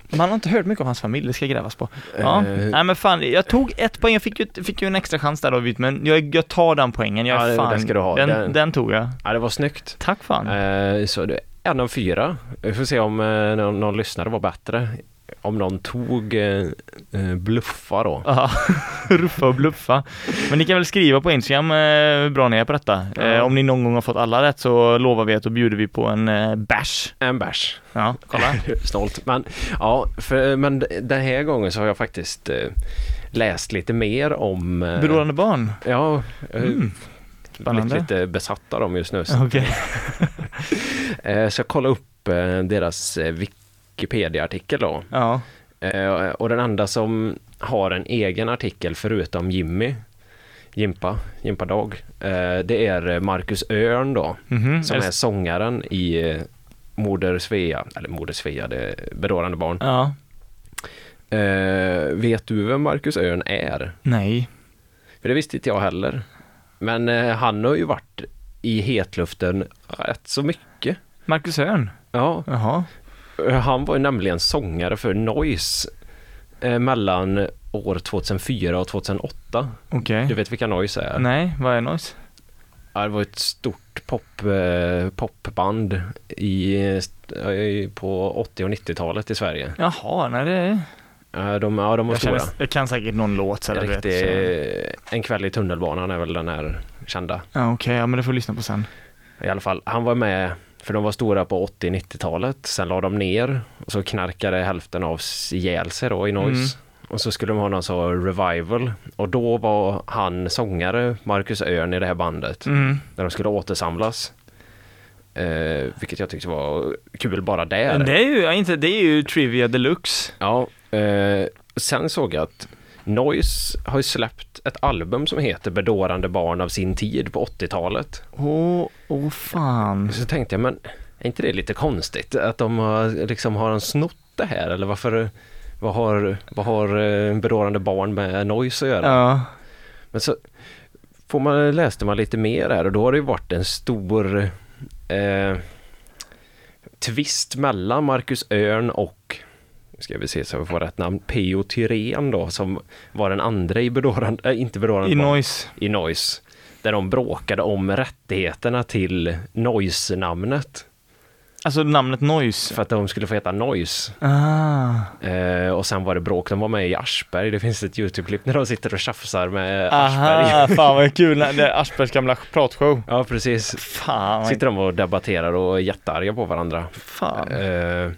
Speaker 2: Man har inte hört mycket om hans familj, det ska grävas på. Ja,
Speaker 3: Eh.
Speaker 2: nej men fan, jag tog ett poäng, jag fick ju, fick ju en extra chans där David, men jag, jag tar den poängen, jag
Speaker 3: Ja, det-
Speaker 2: fan,
Speaker 3: den ska du ha.
Speaker 2: Den,
Speaker 3: Den-
Speaker 2: den. tog jag.
Speaker 3: ja, det var snyggt.
Speaker 2: Tack fan.
Speaker 3: Eh, så det är en av fyra. Vi får se om eh, någon, någon lyssnare var bättre. Om någon tog eh, eh, bluffa då.
Speaker 2: Ja, ruffa och bluffa. Men ni kan väl skriva på Instagram eh, hur bra ni är på detta. Eh, om ni någon gång har fått alla rätt så lovar vi att då bjuder vi på en eh, bash.
Speaker 3: En bärs.
Speaker 2: Ja, kolla.
Speaker 3: Snålt. Men, ja, för, men d- den här gången så har jag faktiskt eh, läst lite mer om... eh,
Speaker 2: Beroende barn.
Speaker 3: Ja, eh,
Speaker 2: Mm,
Speaker 3: jag blivit
Speaker 2: spännande.
Speaker 3: lite besatt av dem just nu. Så,
Speaker 2: Okej.
Speaker 3: eh, så jag kollade upp eh, deras eh, Wikipedia-artikel då.
Speaker 2: Ja.
Speaker 3: Eh, och den enda som har en egen artikel förutom Jimmy, Jimpa, Jimpa Dag, eh, det är Marcus Örn då,
Speaker 2: Mhm.
Speaker 3: som
Speaker 2: Är det-
Speaker 3: är sångaren i eh, Moder Svea, eller Moder Svea, det är Bedårande barn.
Speaker 2: Ja.
Speaker 3: Eh, vet du vem Marcus Örn är?
Speaker 2: Nej.
Speaker 3: För det visste inte jag heller. Men eh, han har ju varit i hetluften rätt så mycket.
Speaker 2: Marcus Örn.
Speaker 3: Ja,
Speaker 2: Jaha.
Speaker 3: eh, han var ju nämligen sångare för Noise eh, mellan år 2004 och 2008.
Speaker 2: Okej.
Speaker 3: Du vet vilka Noise är?
Speaker 2: Nej, vad är noise?
Speaker 3: Ja, det var ett stort pop, eh, popband i, eh, i, på 80 och 90-talet i Sverige.
Speaker 2: Jaha, nej det är...
Speaker 3: Eh, de, ja, de var
Speaker 2: Jag,
Speaker 3: stora.
Speaker 2: känner, jag kan säkert någon låt så där, du vet.
Speaker 3: Riktig,
Speaker 2: så-
Speaker 3: eh, en kväll i tunnelbanan är väl den här kända.
Speaker 2: Ja, okej, ja men det får du lyssna på sen.
Speaker 3: I alla fall, han var med för de var stora på 80-90-talet. Sen la de ner och så knarkade hälften av s- ihjäl sig då i Noise.
Speaker 2: Mm.
Speaker 3: Och så skulle de ha någon sån revival och då var han sångare, Marcus Örn i det här bandet,
Speaker 2: Mm.
Speaker 3: när de skulle återsamlas. Eh, vilket jag tyckte var kul bara där.
Speaker 2: Men det är ju, ja, inte, det är ju Trivia Deluxe.
Speaker 3: Ja, eh, sen såg jag att Noise har ju släppt ett album som heter Bedårande barn av sin tid på 80-talet.
Speaker 2: Åh, åh fan.
Speaker 3: Så tänkte jag, men är inte det lite konstigt att de har, liksom har de snott det här eller varför vad har, vad har eh, berörande barn med noise att göra?
Speaker 2: Ja.
Speaker 3: Men så får man, läste man lite mer här och då har det ju varit en stor eh, twist mellan Marcus Örn och nu ska vi se så vi får rätt namn, P.O. Tyrén då som var den andra i berörande, äh, inte berörande
Speaker 2: I
Speaker 3: barn
Speaker 2: noise.
Speaker 3: i Noise. Där de bråkade om rättigheterna till Noise-namnet.
Speaker 2: Alltså namnet Noise.
Speaker 3: För att de skulle få heta Noise.
Speaker 2: Ah.
Speaker 3: Eh, och sen var det bråk, de var med i Aschberg. Det finns ett YouTube-klipp när de sitter och tjafsar med
Speaker 2: Aha,
Speaker 3: Aschberg.
Speaker 2: fan vad kul. Nej, Det är Aschbergs gamla pratshow.
Speaker 3: Ja, precis.
Speaker 2: Fan,
Speaker 3: Sitter de och debatterar och är jättearga på varandra.
Speaker 2: fan.
Speaker 3: Eh,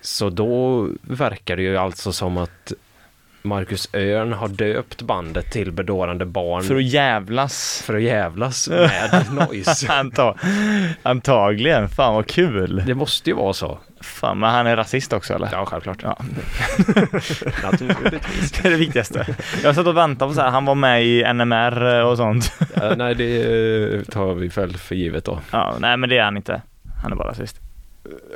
Speaker 3: så då verkar det ju alltså som att Marcus Örn har döpt bandet till Bedårande Barn
Speaker 2: För
Speaker 3: för att,
Speaker 2: att jävlas.
Speaker 3: jävlas med Noise.
Speaker 2: Anta- Antagligen, fan vad kul.
Speaker 3: Det måste ju vara så.
Speaker 2: Fan, men han är rasist också eller?
Speaker 3: Ja, självklart.
Speaker 2: Ja.
Speaker 3: Naturligtvis.
Speaker 2: Det är det viktigaste. Jag satt och väntade på så här, han var med i NMR eh, och sånt.
Speaker 3: Ja, nej, det eh, tar vi väl för givet då.
Speaker 2: Ja, nej men det är han inte. Han är bara rasist.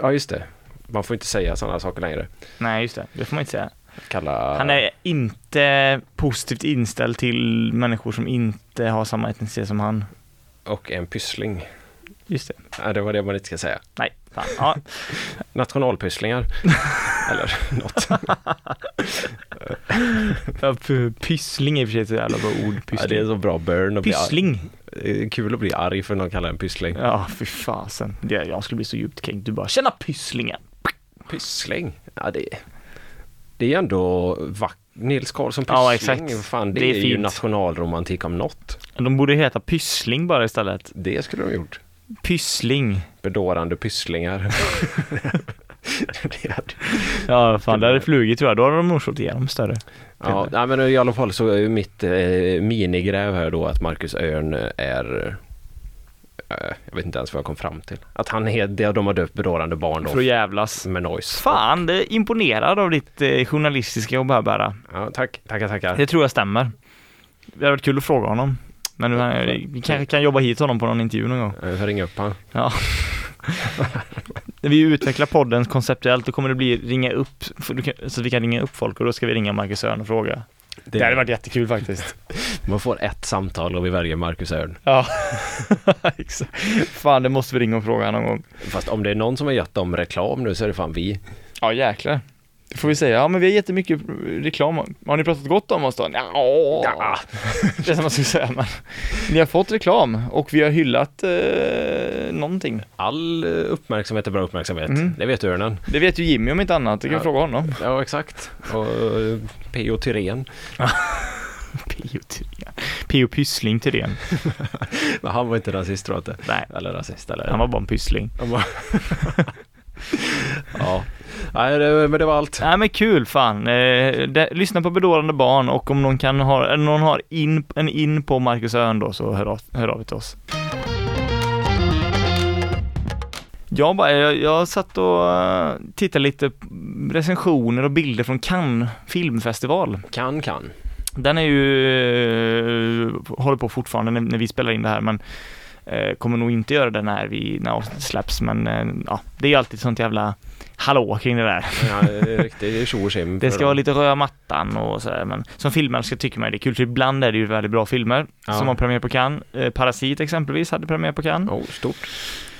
Speaker 3: Ja, just det. Man får inte säga sådana saker längre.
Speaker 2: Nej, just det. Det får man inte säga.
Speaker 3: Kalla...
Speaker 2: Han är inte positivt inställd till människor som inte har samma etnicitet som han.
Speaker 3: Och en pyssling.
Speaker 2: Just det.
Speaker 3: Ja, det var det man inte ska säga.
Speaker 2: Nej. Fan, ja.
Speaker 3: Nationalpysslingar. Eller något.
Speaker 2: Ja, p- Pyssling är i och för sig ett så jävla bra ord.
Speaker 3: Ja, det är
Speaker 2: Pyssling.
Speaker 3: så bra burn att bli arg.
Speaker 2: Pyssling.
Speaker 3: Det är Kul att bli arg för någon kallar en pyssling.
Speaker 2: Ja, fy fasen. Det- Jag skulle bli så djupt kränkt. Du bara, tjena pysslingen.
Speaker 3: Pyssling? Ja, det, det är ju ändå vackert. Nils Karlsson Pyssling,
Speaker 2: Ja, exakt.
Speaker 3: Fan, det,
Speaker 2: Det är
Speaker 3: är, ju
Speaker 2: fint.
Speaker 3: nationalromantik om något.
Speaker 2: De borde heta Pyssling bara istället.
Speaker 3: Det skulle de gjort.
Speaker 2: Pyssling.
Speaker 3: Bedårande pysslingar. Det hade-
Speaker 2: Ja, fan, det hade flugit tror jag. Då hade de nog slagit igenom större.
Speaker 3: ja, nej, men i alla fall så är ju mitt eh, minigräv här då att Marcus Örn är eh, jag vet inte ens vad jag kom fram till. Att han är, det de har döpt bedårande barn
Speaker 2: För att
Speaker 3: då.
Speaker 2: jävlas.
Speaker 3: Med noise.
Speaker 2: Fan, det är imponerad av ditt eh, journalistiska jobb här bara.
Speaker 3: Ja, tack, tackar, tackar.
Speaker 2: Det tror jag stämmer. Det hade varit kul att fråga honom. Men nu, eh, vi kanske kan jobba hit honom på någon intervju någon gång.
Speaker 3: Eh, Jag får ringa upp han.
Speaker 2: Ja. När vi utvecklar podden konceptuellt då kommer det bli ringa upp, för du kan- så att vi kan ringa upp folk och då ska vi ringa Marcus Örn och fråga. Det hade varit jättekul faktiskt.
Speaker 3: Man får ett samtal och vi väljer Marcus Örn.
Speaker 2: Ja, exakt. Fan, det måste vi ringa och fråga någon gång.
Speaker 3: Fast om det är någon som har gett dem reklam nu så är det fan vi.
Speaker 2: Ja, jäklar. Det får vi säga. Ja, men vi har jättemycket reklam. Har ni pratat gott om oss då? Nja. Ja. Det är som man skulle säga, men ni har fått reklam och vi har hyllat eh, någonting.
Speaker 3: All eh, uppmärksamhet är bra uppmärksamhet.
Speaker 2: Mm.
Speaker 3: Det vet örnen.
Speaker 2: Det vet ju Jimmy om inte annat. Du kan
Speaker 3: Ja.
Speaker 2: fråga honom.
Speaker 3: Ja, exakt. Och eh, P.O. Tyrén.
Speaker 2: P.O. Thyrén. P.O. Pyssling Thyrén.
Speaker 3: Men han var inte rasist tror jag inte.
Speaker 2: Nej,
Speaker 3: Eller rasist eller...
Speaker 2: han var bara en pyssling.
Speaker 3: Han var- ja. Nej, det, men det var allt.
Speaker 2: Nej men kul fan. Eh, det, lyssna på Bedårande Barn och om någon kan ha, eller någon har in, en in på Marcus Öhn då så hör av, hör av er till oss. Jag, bara, jag, jag satt och eh, tittade lite på recensioner och bilder från Cannes filmfestival.
Speaker 3: Kan, kan.
Speaker 2: Den är ju, eh, håller på fortfarande när, när vi spelar in det här men eh, kommer nog inte göra det när, vi, när avsnittet släpps men eh, ja, det är ju alltid sånt jävla hallå kring det där.
Speaker 3: Ja, det är riktigt tjo och tjim.
Speaker 2: Det
Speaker 3: för
Speaker 2: ska
Speaker 3: dem.
Speaker 2: vara lite röda mattan och sådär men som filmälskare tycker man ju det är kul, för ibland är det ju väldigt bra filmer
Speaker 3: Ja.
Speaker 2: som har premiär på Cannes. Eh, Parasit exempelvis hade premiär på Cannes,
Speaker 3: Oh, stort.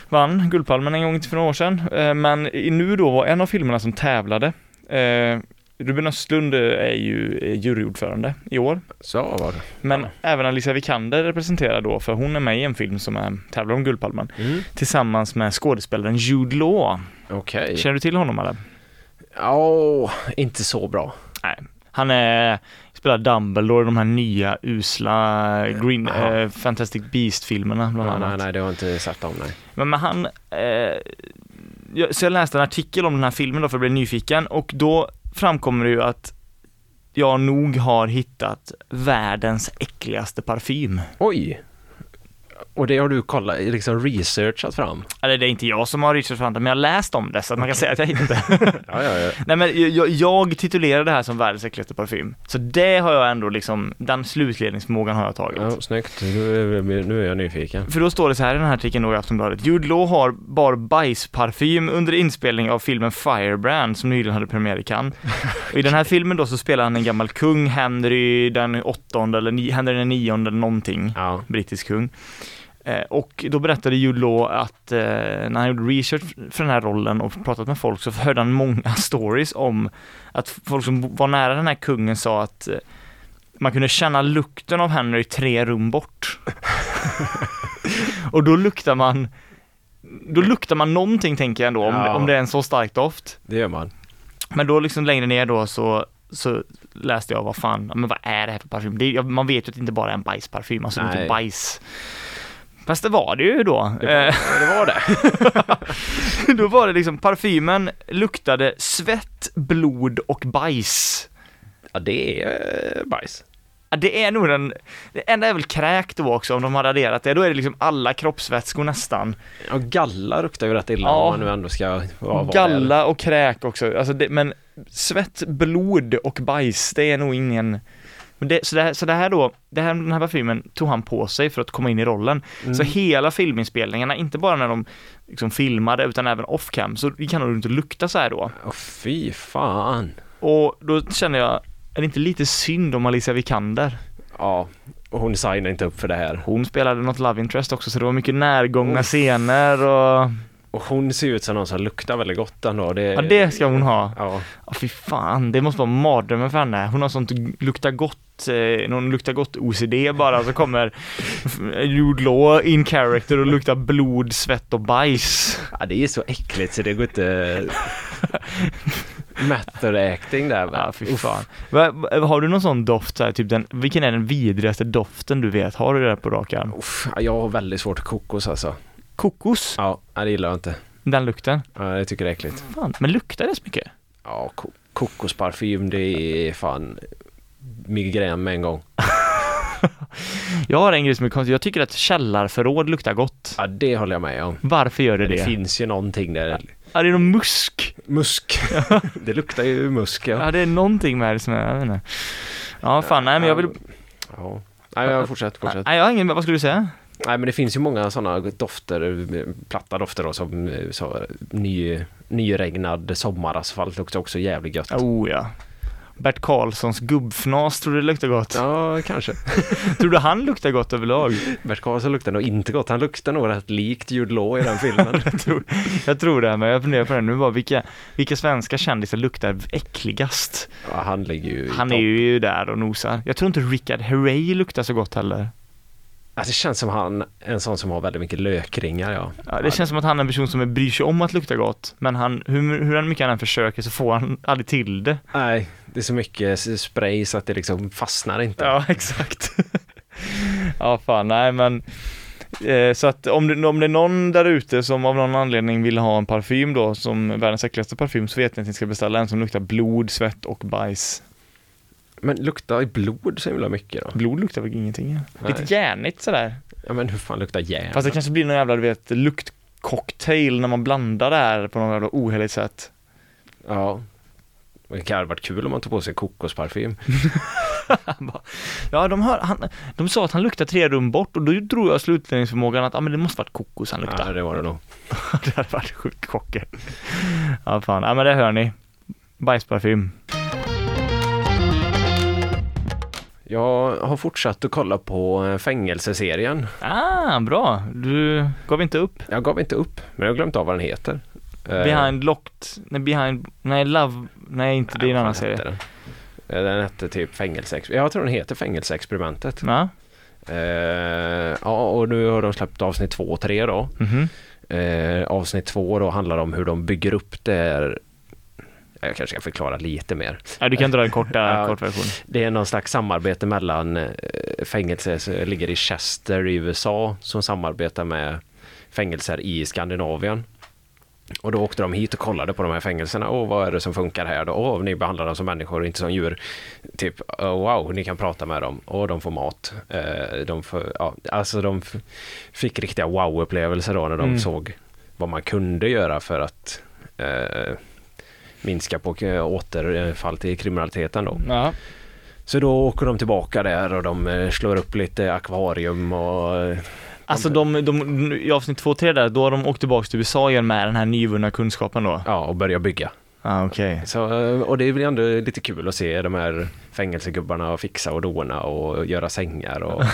Speaker 2: vann Guldpalmen en gång till för några år sedan. Eh, men i- nu då var en av filmerna som tävlade, eh, Ruben Östlund eh, är ju eh, juryordförande i år,
Speaker 3: Så var det.
Speaker 2: men även Alicia Vikander representerar då, för hon är med i en film som är, tävlar om Guldpalmen,
Speaker 3: Mm.
Speaker 2: tillsammans med skådespelaren Jude Law.
Speaker 3: Okej.
Speaker 2: Känner du till honom eller?
Speaker 3: Ja, inte så bra.
Speaker 2: Nej. Han är, spelar Dumbledore i de här nya usla Green,
Speaker 3: Aha.
Speaker 2: eh, Fantastic Beast-filmerna bland
Speaker 3: Nej,
Speaker 2: annat.
Speaker 3: nej, nej, det har jag inte sett om, nej.
Speaker 2: Men, men han, eh, jag, så jag läste en artikel om den här filmen då för jag blev nyfiken och då framkommer det ju att jag nog har hittat världens äckligaste parfym.
Speaker 3: Oj! Och det har du kollat, liksom researchat fram?
Speaker 2: Eller det är inte jag som har researchat fram det, men jag har läst om det så att man kan säga att jag hittat det.
Speaker 3: Ja, ja, ja.
Speaker 2: Nej men jag, jag titulerar det här som världens äckligaste parfym. Så det har jag ändå liksom, den slutledningsförmågan har jag tagit.
Speaker 3: ja snyggt. Nu, är- nu är jag nyfiken.
Speaker 2: För då står det så här i den här artikeln då i Aftonbladet. Jude Law har bar bajsparfym under inspelning av filmen Firebrand som nyligen hade premiär i Cannes. Och I den här filmen då så spelar han en gammal kung, Henry den åttonde eller ni, Henry den nionde eller någonting,
Speaker 3: Ja.
Speaker 2: brittisk kung. Eh, och då berättade Jude Law att eh, när han gjorde research för den här rollen och pratat med folk så hörde han många stories om att folk som var nära den här kungen sa att eh, man kunde känna lukten av Henry tre rum bort. och då luktar man då luktar man någonting tänker jag ändå, om,
Speaker 3: Ja.
Speaker 2: om det är en så stark doft.
Speaker 3: Det gör man.
Speaker 2: Men då liksom längre ner då så, så läste jag vad fan, ja, men vad är det här för parfym? Det, är- ja, man vet ju att det inte bara är en bajsparfym, alltså det är inte
Speaker 3: Nej.
Speaker 2: bajs. Fast det var det ju då. Eh,
Speaker 3: Ja, Det var det.
Speaker 2: då var det liksom, parfymen luktade svett, blod och bajs.
Speaker 3: Ja, det är eh, bajs.
Speaker 2: Ja, Det är nog den, det enda är väl kräk då också om de hade adderat det, då är det liksom alla kroppsvätskor nästan.
Speaker 3: Ja, galla luktar ju rätt illa
Speaker 2: Ja.
Speaker 3: om man nu ändå ska vara vara
Speaker 2: Galla och kräk också, alltså det, men svett, blod och bajs, det är nog ingen... Men det, så, det, här- så det här då, det här, den här parfymen tog han på sig för att komma in i rollen. Så hela filminspelningarna, inte bara när de liksom filmade utan även off-cam, så gick han runt och luktade så här då.
Speaker 3: där. Åh, fy fan.
Speaker 2: Och då känner jag, är det inte lite synd om Alicia Vikander?
Speaker 3: Ja, och hon signar inte upp för det här.
Speaker 2: Hon spelade något Love Interest också så det var mycket närgångna scener och
Speaker 3: Och hon ser ju ut som någon som luktar väldigt gott ändå. Det,
Speaker 2: Ja, det ska hon ha.
Speaker 3: Ja.
Speaker 2: Ja, fy fan, det måste vara mardrömmen för henne. Hon har sånt lukta gott, eh, någon lukta gott OCD bara, så kommer Jude Law in character och luktar blod, svett och bajs.
Speaker 3: ja, det är så äckligt så det går inte... Matter acting där.
Speaker 2: Ja, fy fan. Va, va- har du någon sån doft så här, typ den, vilken är den vidrigaste doften du vet? Har du det där på rak arm?
Speaker 3: Uff, ja, jag har väldigt svårt för kokos alltså.
Speaker 2: Kokos,
Speaker 3: Ja, nej, det gillar jag inte.
Speaker 2: den lukten.
Speaker 3: Ja, jag tycker det är äckligt.
Speaker 2: Fan, men luktar det så mycket?
Speaker 3: Ja, ko- kokosparfym det är fan migrän med en gång.
Speaker 2: Jag har en grej som är konstig, jag tycker att källarförråd luktar gott.
Speaker 3: Ja, det håller jag med om.
Speaker 2: Varför gör det
Speaker 3: Det
Speaker 2: det?
Speaker 3: finns ju någonting där.
Speaker 2: Ja, det är någon musk.
Speaker 3: Musk. det luktar ju musk ja.
Speaker 2: Ja, det är någonting med det som är, jag vet inte. Ja, fan, nej men jag vill
Speaker 3: ja. Nej, jag fortsätt, fortsätt.
Speaker 2: Nej, jag har ingen, vad skulle du säga?
Speaker 3: Nej, men det finns ju många sådana dofter, eh, platta dofter då, som eh, så, ny, nyregnad sommarasfalt luktar också jävligt gött.
Speaker 2: Oh ja. Bert Karlssons gubbfnas, tror du det luktar gott?
Speaker 3: Ja, kanske.
Speaker 2: Tror du han luktar gott överlag?
Speaker 3: Bert Karlsson luktar nog inte gott. Han luktar nog rätt likt Jude Law i den filmen.
Speaker 2: Jag tror, jag tror det, men jag funderar på det nu bara, vilka, vilka svenska kändisar luktar äckligast?
Speaker 3: ja, han ligger ju i
Speaker 2: Han är
Speaker 3: topp.
Speaker 2: ju där och nosar. Jag tror inte Richard Herrey luktar så gott heller.
Speaker 3: Alltså, det känns som han, en sån som har väldigt mycket lökringar ja.
Speaker 2: Ja, det känns som att han är en person som bryr sig om att lukta gott, men han, hur, hur mycket han än försöker så får han aldrig till det.
Speaker 3: Nej, det är så mycket s- spray så att det liksom fastnar inte.
Speaker 2: Ja, exakt. ja, fan, nej men. Eh, så att om det, om det är någon där ute som av någon anledning vill ha en parfym då, som världens äckligaste parfym, så vet ni att ni ska beställa en som luktar blod, svett och bajs.
Speaker 3: Men luktar i blod så himla mycket då?
Speaker 2: Blod luktar väl ingenting? ja.
Speaker 3: Nej.
Speaker 2: Lite järnigt sådär.
Speaker 3: Ja men hur fan luktar järn?
Speaker 2: Fast det kanske blir någon jävla, du vet, luktcocktail när man blandar det här på något jävla oheligt sätt.
Speaker 3: Ja. Det kan ha varit kul om man tog på sig kokosparfym.
Speaker 2: Ja, de, hör, han, de sa att han luktar tre rum bort och då drog jag slutledningsförmågan att ah, men det måste varit kokos han luktar.
Speaker 3: Ja, det var det nog.
Speaker 2: det hade varit sjukt chocker. Ja, fan. Ja, men det hör ni. Bajsparfym.
Speaker 3: Jag har fortsatt att kolla på eh, fängelseserien.
Speaker 2: Ah, bra. Du gav inte upp.
Speaker 3: Jag gav inte upp, men jag har glömt av vad den heter. Eh,
Speaker 2: Behind locked. Nej, behind... Nej, love... Nej, inte det är en
Speaker 3: vad
Speaker 2: annan
Speaker 3: fan hette
Speaker 2: serie.
Speaker 3: Den. Eh, den hette typ Fängelseexperimentet. Jag tror den heter Fängelseexperimentet.
Speaker 2: Ja.
Speaker 3: Eh, ja, och nu har de släppt avsnitt två och tre då.
Speaker 2: Mhm.
Speaker 3: Eh, avsnitt två då handlar om hur de bygger upp det här. Jag kanske ska förklara lite mer.
Speaker 2: ja, du kan dra en korta,
Speaker 3: Ja.
Speaker 2: kort version.
Speaker 3: Det är någon slags samarbete mellan eh, fängelser som ligger i Chester i USA som samarbetar med fängelser i Skandinavien. Och då åkte de hit och kollade på de här fängelserna. Åh, vad är det som funkar här då? Åh, ni behandlar dem som människor och inte som djur. Typ, oh, wow, ni kan prata med dem. Åh, de får mat. Eh, de får, ja, alltså de f- fick riktiga wow-upplevelser då när de såg vad man kunde göra för att eh, minska på eh, återfall till kriminaliteten då.
Speaker 2: Ja.
Speaker 3: Så då åker de tillbaka där och de eh, slår upp lite akvarium och eh,
Speaker 2: Alltså de, de, i avsnitt två, tre där, då har de åkt tillbaka till USA igen med den här nyvunna kunskapen då. Ja,
Speaker 3: ja, och börjar bygga.
Speaker 2: ah, okej.
Speaker 3: Så, eh, och det blir ändå lite kul att se de här fängelsegubbarna och fixa och dona och göra sängar och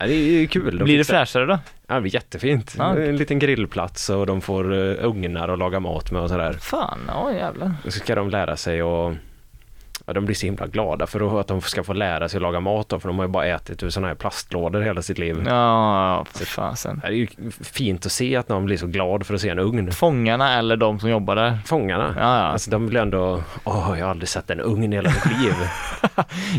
Speaker 3: Ja, det är ju kul. De
Speaker 2: Blir det
Speaker 3: fixar-
Speaker 2: fräschare då?
Speaker 3: Ja, det blir jättefint.
Speaker 2: Ja.
Speaker 3: En liten grillplats och de får eh, ugnar att laga mat med och sådär.
Speaker 2: Fan, ja jävlar.
Speaker 3: Och så ska de lära sig och ja, de blir så himla glada för att de ska få lära sig att laga mat då, för de har ju bara ätit ur sådana här plastlådor hela sitt liv.
Speaker 2: Ja, för fasen.
Speaker 3: Det är ju fint att se att någon blir så glad för att se en ugn.
Speaker 2: Fångarna eller de som jobbar där?
Speaker 3: Fångarna,
Speaker 2: Ja, ja.
Speaker 3: Alltså, de blir ändå, åh, jag har aldrig sett en ugn i hela mitt liv.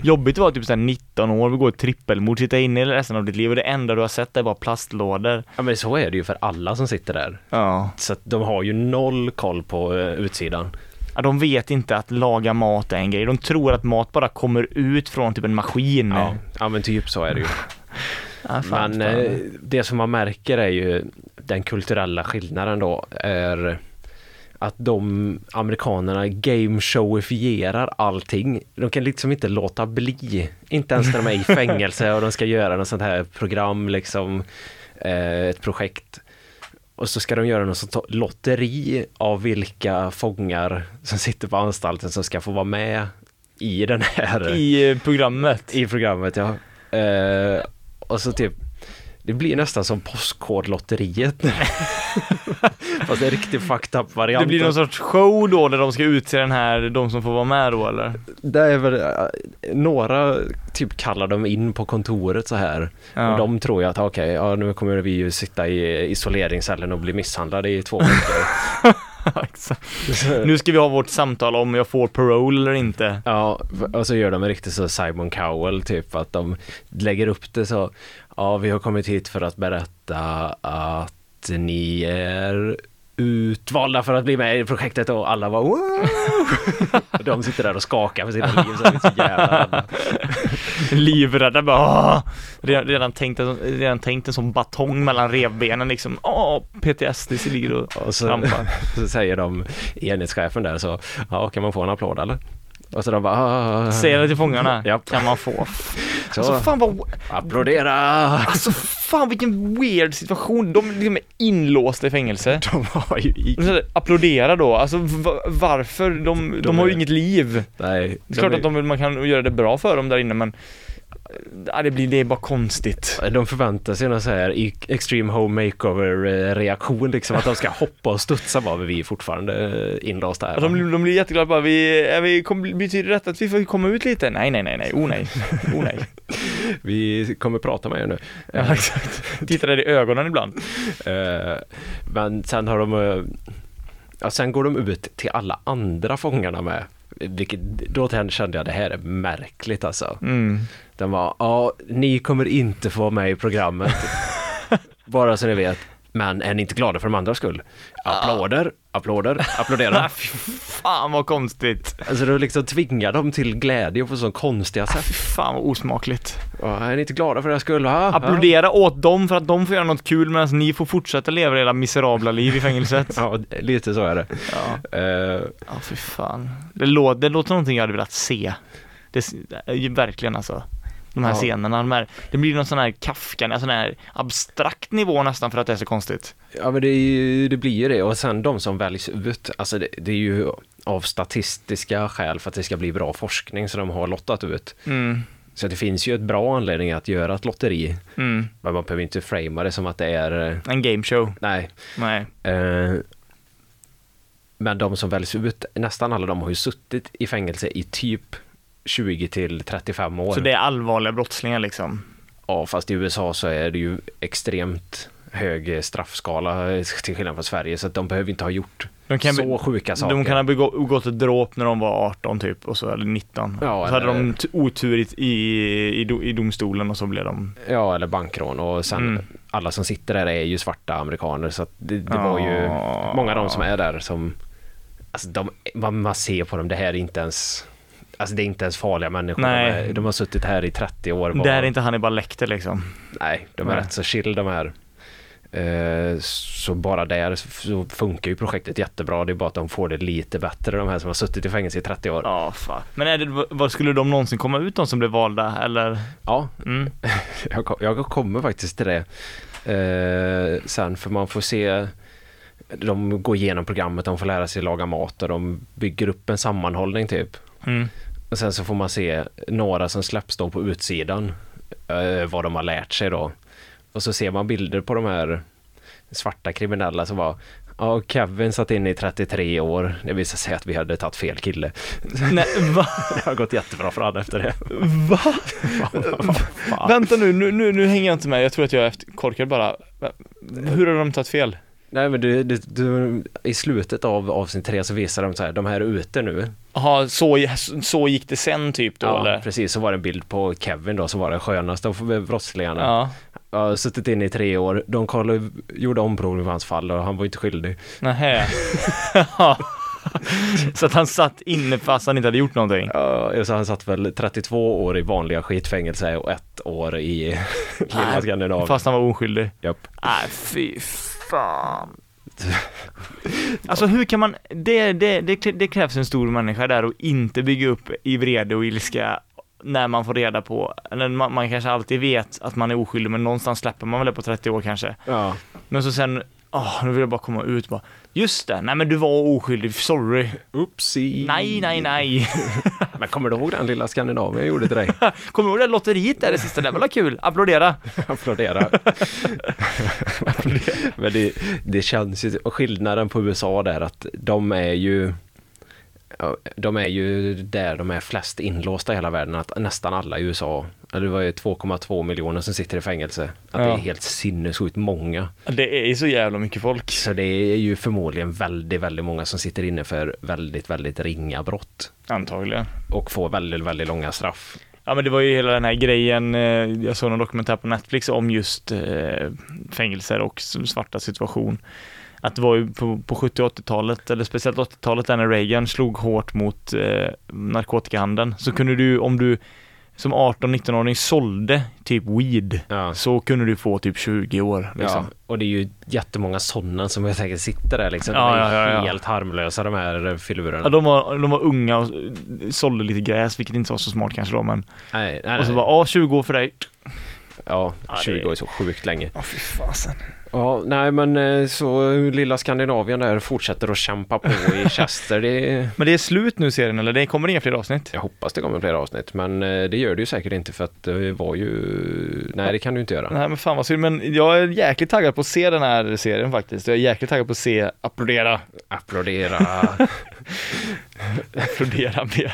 Speaker 2: Jobbigt att vara typ såhär 19 år, begå ett trippelmord, sitta inne i resten av ditt liv och det enda du har sett är bara plastlådor.
Speaker 3: ja, men så är det ju för alla som sitter där.
Speaker 2: Ja.
Speaker 3: Så att de har ju noll koll på eh, utsidan.
Speaker 2: De vet inte att laga mat är en grej. De tror att mat bara kommer ut från typ en maskin.
Speaker 3: Ja, ja, men typ så är det ju.
Speaker 2: Ja, fan,
Speaker 3: Men
Speaker 2: fan.
Speaker 3: eh, det som man märker är ju den kulturella skillnaden då är att de amerikanerna gameshowifierar allting. De kan liksom inte låta bli. Inte ens när de är i fängelse och de ska göra något sånt här program, liksom eh, ett projekt. Och så ska de göra något sånt lotteri av vilka fångar som sitter på anstalten som ska få vara med i den här
Speaker 2: I eh, programmet.
Speaker 3: i programmet ja. Eh, och så typ Det blir nästan som Postkodlotteriet. Fast en riktig fucked up variant.
Speaker 2: Det blir någon sorts show då där de ska utse den här, de som får vara med då eller?
Speaker 3: Det är väl, eh, några typ kallar dem in på kontoret så här.
Speaker 2: Ja.
Speaker 3: Och de tror ju att okej, ja, nu kommer vi ju sitta i isoleringscellen och bli misshandlade i två veckor.
Speaker 2: Ja, exakt. Nu ska vi ha vårt samtal om jag får parole eller inte.
Speaker 3: ja, och så gör de en riktig så Simon Cowell typ att de lägger upp det så. Ja, vi har kommit hit för att berätta att ni är utvalda för att bli med i projektet och alla var wow! Och de sitter där och skakar för sina liv så det är så jävla rädda.
Speaker 2: Livrädda bara "Åh!" redan, redan, tänkt en, redan tänkt en sån batong mellan revbenen liksom. Åh, PTSD så ligger och,
Speaker 3: Och så,
Speaker 2: trampar.
Speaker 3: så säger de, enhetschefen där så, ja kan man få en applåd eller? Och så de bara, "Ah."
Speaker 2: Säger det till fångarna.
Speaker 3: Ja.
Speaker 2: Kan man få.
Speaker 3: så,
Speaker 2: Alltså fan vad
Speaker 3: applådera!
Speaker 2: Alltså fan vilken weird situation, de liksom är inlåsta i fängelse.
Speaker 3: De har ju
Speaker 2: Och så
Speaker 3: i-
Speaker 2: här, Applådera då, alltså va- varför? De, de,
Speaker 3: De
Speaker 2: har ju
Speaker 3: är-
Speaker 2: inget liv.
Speaker 3: Nej,
Speaker 2: Det är klart att de, vill- man kan göra det bra för dem där inne men ja, det, blir, det är bara konstigt.
Speaker 3: de förväntar sig någon så här i- extreme home makeover eh, reaktion liksom att de ska hoppa och studsa bara men vi är fortfarande eh, inlåsta här.
Speaker 2: Och Alltså, de, de blir jätteglada bara, vi, är vi, kom, betyder detta att vi får komma ut lite? Nej, nej, nej, nej, oh nej, oh nej.
Speaker 3: Vi kommer prata med er nu.
Speaker 2: Ja, exakt. Tittar där i ögonen ibland.
Speaker 3: Eh, Men sen har de... eh, Ja, sen går de ut till alla andra fångarna med. Vilket, då kände jag det här är märkligt alltså.
Speaker 2: Mm.
Speaker 3: Den var, ja, ni kommer inte få vara med i programmet. Bara så ni vet. Men är ni inte glada för de andras skull? Applåder, applåder, applådera.
Speaker 2: Ah. Fy fan vad konstigt.
Speaker 3: Alltså du liksom tvingar dem till glädje på så konstiga sätt.
Speaker 2: Fy fan vad osmakligt.
Speaker 3: Ja, är ni inte glada för deras skull? Ha, ha.
Speaker 2: Applådera åt dem för att de får göra något kul medan ni får fortsätta leva era miserabla liv i fängelset.
Speaker 3: Ja, lite så är det.
Speaker 2: Ja,
Speaker 3: Eh,
Speaker 2: ja fy fan. Det låter, det låter någonting jag hade velat se. Det s- är ju verkligen alltså. De här
Speaker 3: Ja.
Speaker 2: scenerna, de här, det blir någon sån här Kafka, en sån här abstrakt nivå nästan för att det är så konstigt.
Speaker 3: Ja men det, är ju, det blir ju det och sen de som väljs ut, alltså det, det är ju av statistiska skäl för att det ska bli bra forskning som de har lottat ut.
Speaker 2: Mm,
Speaker 3: Så det finns ju ett bra anledning att göra ett lotteri,
Speaker 2: mm.
Speaker 3: men man behöver inte framea det som att det är, eh,
Speaker 2: En gameshow.
Speaker 3: nej.
Speaker 2: Nej.
Speaker 3: Eh, Men de som väljs ut, nästan alla de har ju suttit i fängelse i typ 20 till 35 år.
Speaker 2: Så det är allvarliga brottslingar liksom.
Speaker 3: Ja, fast i USA så är det ju extremt hög straffskala eh, till skillnad från Sverige, så att de behöver inte ha gjort
Speaker 2: De kan
Speaker 3: så
Speaker 2: be-
Speaker 3: sjuka saker.
Speaker 2: De kan ha begå- begått ett dråp när de var 18 typ, och så, eller 19.
Speaker 3: Ja,
Speaker 2: och så hade
Speaker 3: eller-
Speaker 2: de t- otur i, i, i, do- i domstolen och så blev de
Speaker 3: Ja, eller bankrån och sen
Speaker 2: Mm.
Speaker 3: alla som sitter där är ju svarta amerikaner så att det, det var ju
Speaker 2: Ah.
Speaker 3: många av dem som är där som, alltså de, man, man ser på dem, det här är inte ens, alltså det är inte ens farliga människor.
Speaker 2: Nej.
Speaker 3: De, är, de har suttit här i 30 år. var-
Speaker 2: Det här är inte Hannibal Lecter liksom.
Speaker 3: Nej, de är
Speaker 2: Nej.
Speaker 3: rätt så chill de här. Eh, Så bara där så funkar ju projektet jättebra. Det är bara att de får det lite bättre, de här som har suttit i fängelse i 30 år.
Speaker 2: Ja, fan. Men är det, vad skulle de någonsin komma ut, de som blev valda? Eller?
Speaker 3: Ja,
Speaker 2: Mm.
Speaker 3: Jag, kom, jag kommer faktiskt till det eh, sen, för man får se de går igenom programmet, de får lära sig laga mat och de bygger upp en sammanhållning typ.
Speaker 2: Mm.
Speaker 3: Och sen så får man se några som släpps då på utsidan, eh, vad de har lärt sig då. Och så ser man bilder på de här svarta kriminella som var Ja, Kevin satt inne i 33 år. Det visade sig att vi hade tagit fel kille.
Speaker 2: Nej, va?
Speaker 3: Det har gått jättebra för honom efter det.
Speaker 2: va? Vänta nu, nu, nu, nu hänger jag inte med. Jag tror att jag är efter- korkad bara. Va- Hur har de tagit fel?
Speaker 3: Nej men du, du, du, i slutet av avsnitt tre så visar de så här, de här är ute nu.
Speaker 2: Jaha, så, så gick det sen typ då eller?
Speaker 3: precis, så var det en bild på Kevin då som var den skönaste av brottslingarna.
Speaker 2: Ja,
Speaker 3: Jag har suttit inne i tre år, de kollade, gjorde omprovning på hans fall och han var ju inte skyldig.
Speaker 2: nähä. Ja. så att han satt inne fast han inte hade gjort någonting?
Speaker 3: Ja, så han satt väl 32 år i vanliga skitfängelse och ett år i lilla Skandinavien.
Speaker 2: Fast han var oskyldig?
Speaker 3: Japp.
Speaker 2: Nej, fy fan. Alltså hur kan man, det, det, det, det krävs en stor människa där och inte bygga upp i vrede och ilska när man får reda på, eller man, man kanske alltid vet att man är oskyldig men någonstans släpper man väl det på 30 år kanske.
Speaker 3: Ja.
Speaker 2: Men så sen åh, nu vill jag bara komma ut bara, just det, nej men du var oskyldig, sorry.
Speaker 3: Oopsie.
Speaker 2: Nej, nej, nej.
Speaker 3: Men kommer du ihåg den lilla Skandinavien jag gjorde till dig?
Speaker 2: Kommer du ihåg det lotteriet där det sista? Det var kul, applådera.
Speaker 3: Applådera. Men det, det känns ju, och skillnaden på USA där att de är ju ja, de är ju där de är flest inlåsta i hela världen, att nästan alla i USA, eller det var ju 2,2 miljoner som sitter i fängelse, att det
Speaker 2: Ja.
Speaker 3: är helt sinnessjukt många.
Speaker 2: Det är ju så jävla mycket folk.
Speaker 3: Så det är ju förmodligen väldigt, väldigt många som sitter inne för väldigt, väldigt ringa brott
Speaker 2: Antagligen.
Speaker 3: och får väldigt, väldigt långa straff.
Speaker 2: Ja men det var ju hela den här grejen, eh, jag såg någon dokumentär på Netflix om just eh, fängelser och s- svarta situation. Att det var ju på, på 70 och 80-talet, eller speciellt 80-talet där när Reagan slog hårt mot eh, narkotikahandeln,
Speaker 3: Mm.
Speaker 2: så kunde du, om du som 18-19-åring sålde typ weed,
Speaker 3: Ja.
Speaker 2: så kunde du få typ 20 år. Liksom.
Speaker 3: Ja, och det är ju jättemånga sådana som jag säkert sitter där liksom.
Speaker 2: Ja,
Speaker 3: de är
Speaker 2: ja, ja, ja.
Speaker 3: helt harmlösa de här filurerna.
Speaker 2: Ja, de, var, de var unga och eh, sålde lite gräs, vilket inte var så smart kanske då, men
Speaker 3: nej, nej,
Speaker 2: och så
Speaker 3: nej.
Speaker 2: bara, ja 20 år för dig.
Speaker 3: ja,
Speaker 2: Ja, det-
Speaker 3: 20 år är så sjukt länge.
Speaker 2: Ja, fy fasen.
Speaker 3: Ja, nej men eh, så eh, lilla Skandinavien där fortsätter att kämpa på i Chester. Det,
Speaker 2: Men det är slut nu serien, eller? Det kommer inga fler avsnitt?
Speaker 3: jag hoppas det kommer fler avsnitt, men eh, det gör det ju säkert inte för att det var ju... Nej, det kan du inte göra.
Speaker 2: Nej men fan vad synd, men jag är jäkligt taggad på att se den här serien faktiskt. Jag är jäkligt taggad på att se Applådera,
Speaker 3: Applådera.
Speaker 2: Applådera mera.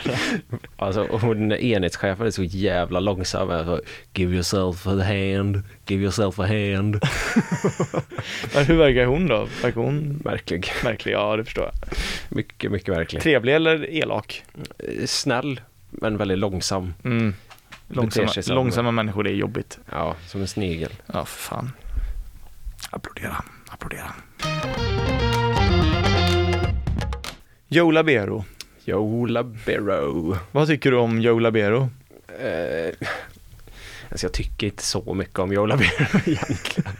Speaker 3: alltså, och hon enhetschefen är så jävla långsam. Alltså, give yourself a hand, give yourself a hand.
Speaker 2: Men hur verkar hon då? Verkar hon
Speaker 3: Märklig.
Speaker 2: märklig? Ja det förstår jag.
Speaker 3: Mycket, mycket märklig.
Speaker 2: Trevlig eller elak?
Speaker 3: eh, snäll men väldigt långsam.
Speaker 2: Mm. Långsamma,
Speaker 3: sig som-
Speaker 2: långsamma människor, det är jobbigt.
Speaker 3: Ja, som en snigel.
Speaker 2: Ja för fan. Applådera, applådera. Joe Labero,
Speaker 3: Yo Labero.
Speaker 2: vad tycker du om Joe Labero?
Speaker 3: Eh, alltså jag tycker inte så mycket om Yo Labero egentligen.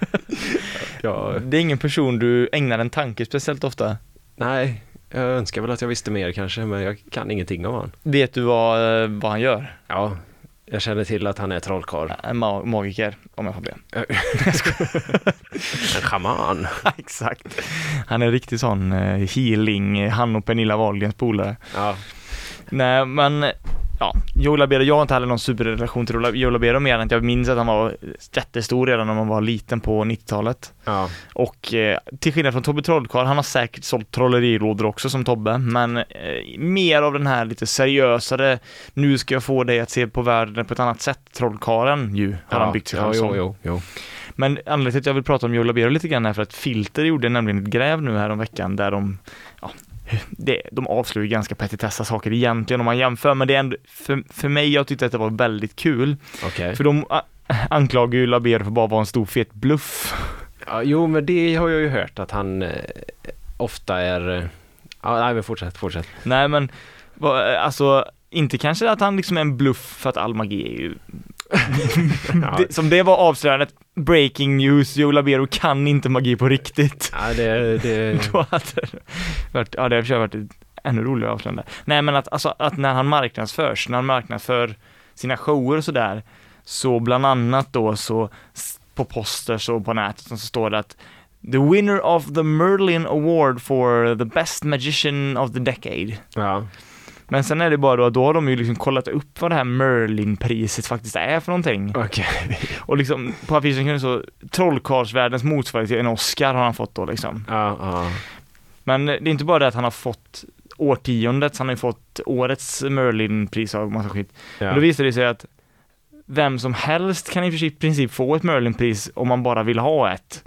Speaker 3: jag,
Speaker 2: Det är ingen person du ägnar en tanke speciellt ofta.
Speaker 3: nej, jag önskar väl att jag visste mer kanske, men jag kan ingenting om han.
Speaker 2: Vet du vad, eh, vad han gör?
Speaker 3: Ja, jag känner till att han är trollkarl.
Speaker 2: En ma- magiker, om jag får be.
Speaker 3: En schaman.
Speaker 2: Exakt. Han är en riktig sån eh, healing, eh, han och Pernilla Wahlgrens polare.
Speaker 3: Ja,
Speaker 2: Nej men, eh, ja, Joe Labero, jag har inte heller någon superrelation till Joe Labero mer än att jag minns att han var jättestor redan när man var liten på 90-talet.
Speaker 3: ja.
Speaker 2: Och eh, till skillnad från Tobbe Trollkarl, han har säkert sålt trollerirådor också som Tobbe, men eh, mer av den här lite seriösare, nu ska jag få dig att se på världen på ett annat sätt, Trollkarlen ju, har han byggt sig
Speaker 3: ja,
Speaker 2: själv som.
Speaker 3: jo, jo, jo.
Speaker 2: Men anledningen till att jag vill prata om Joe Labero lite grann är för att Filter gjorde nämligen ett gräv nu här om veckan där de, ja, det, de avslöjar ganska petitessa saker egentligen om man jämför, men det är ändå, för, för mig, jag tyckte att det var väldigt kul.
Speaker 3: Okej.
Speaker 2: För de a- anklagar ju Labero för bara att vara en stor fet bluff.
Speaker 3: Ja, jo, men det har jag ju hört att han eh, ofta är... eh, Ja, nej, men fortsätt, fortsätt.
Speaker 2: Nej men, vad- alltså, inte kanske att han liksom är en bluff för att all magi är ju
Speaker 3: Ja,
Speaker 2: det, som det var avslöjandet, breaking news, Joe Labero kan inte magi på riktigt.
Speaker 3: ja det... det...
Speaker 2: Då hade det varit, ja det hade i och för sig varit ett ännu roligare avslöjande. Nej men att, alltså, att när han marknadsförs, när han marknadsför sina shower och sådär, så bland annat då så s- på posters och på nätet så står det att The winner of the Merlin Award for the best magician of the decade.
Speaker 3: Ja.
Speaker 2: Men sen är det bara då att då har de ju liksom kollat upp vad det här Merlin-priset faktiskt är för någonting.
Speaker 3: Okej.
Speaker 2: Och liksom på affischen kunde det stå trollkarlsvärldens motsvarighet till en Oscar har han fått då liksom.
Speaker 3: Ja, ja.
Speaker 2: Men det är inte bara det att han har fått årtiondets, han har ju fått årets Merlin-pris och massa skit.
Speaker 3: Ja.
Speaker 2: Men då visar det sig att vem som helst kan i och för sig- i princip få ett Merlin-pris om man bara vill ha ett.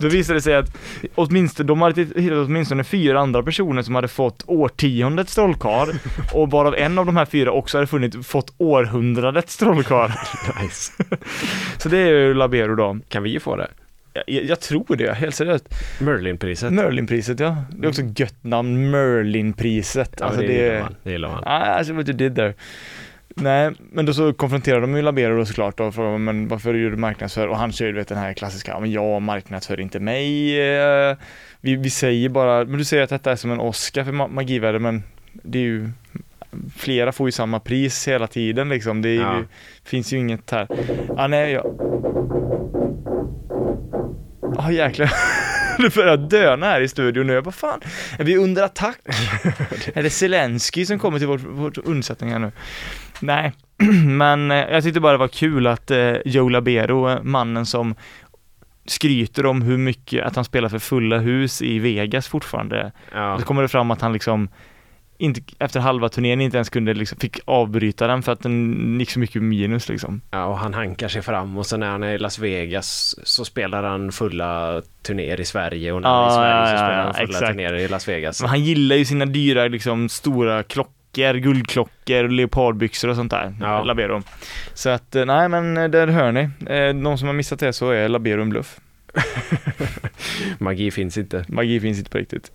Speaker 2: Då visade det sig att åtminstone, de hade hittat åtminstone fyra andra personer som hade fått årtiondets trollkarl och bara en av de här fyra också hade funnit, fått århundradets trollkarl.
Speaker 3: Nice.
Speaker 2: Så det är ju Labero då.
Speaker 3: Kan vi ju få det?
Speaker 2: Jag, jag tror det, helt seriöst.
Speaker 3: Merlinpriset.
Speaker 2: Merlinpriset ja, det är också ett gött namn, Merlinpriset.
Speaker 3: Ja,
Speaker 2: Alltså
Speaker 3: det,
Speaker 2: det
Speaker 3: gillar
Speaker 2: är...
Speaker 3: man. Det gillar man.
Speaker 2: Ah, alltså what you did there. Nej, men då så konfronterar de ju Labero då såklart då och frågar men varför gör du marknadsför? Och han kör ju du vet den här klassiska, "Ja, men jag marknadsför inte mig. eh, Vi, vi säger bara, men du säger att detta är som en Oscar för ma- magivärlden men det är ju Flera får ju samma pris hela tiden liksom. Det är ju,
Speaker 3: Ja.
Speaker 2: finns ju inget här. Ah, nej, jag, Ja jäklar. Du börjar döna här i studion nu. Jag bara fan, är vi under attack? är det Zelensky som kommer till vårt, vårt undsättning här nu? Nej, men eh, jag tyckte bara det var kul att eh, Joe Labero, eh, mannen som skryter om hur mycket, att han spelar för fulla hus i Vegas fortfarande.
Speaker 3: Ja.
Speaker 2: Då kommer det fram att han liksom inte, efter halva turnén inte ens kunde liksom, fick avbryta den för att den gick så mycket minus liksom.
Speaker 3: Ja, och han hankar sig fram och sen när han är i Las Vegas så spelar han fulla turnéer i Sverige och när han är i
Speaker 2: Ja,
Speaker 3: Sverige så
Speaker 2: ja, ja,
Speaker 3: spelar han
Speaker 2: ja,
Speaker 3: fulla
Speaker 2: exakt.
Speaker 3: turnéer i Las Vegas.
Speaker 2: Men han gillar ju sina dyra, liksom stora klockor, guldklockor, leopardbyxor och sånt där.
Speaker 3: Ja.
Speaker 2: Labero. Så att, eh, nej men eh, där hör ni. Eh, Någon som har missat det så är Labero en bluff.
Speaker 3: Magi finns inte.
Speaker 2: Magi finns inte på riktigt.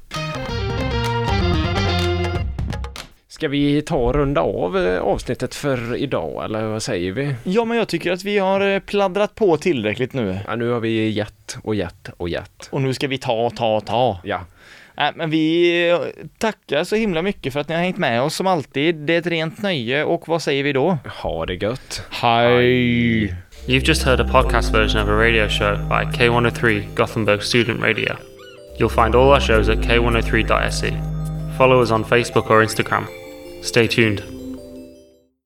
Speaker 3: Ska vi ta och runda av eh, avsnittet för idag eller vad säger vi?
Speaker 2: Ja men jag tycker att vi har eh, pladdrat på tillräckligt nu.
Speaker 3: Ja, nu har vi gett och gett och gett.
Speaker 2: Och nu ska vi ta, ta, ta.
Speaker 3: Ja,
Speaker 2: Nej men vi eh, tackar så himla mycket för att ni har hängt med oss som alltid. Det är ett rent nöje och vad säger vi då?
Speaker 3: ha det gött.
Speaker 2: Hej!
Speaker 1: You've just heard a podcast version of a radio show by K103 Gothenburg Student Radio. You'll find oh E. all our shows at k103.se. Follow us on Facebook or Instagram. Stay tuned.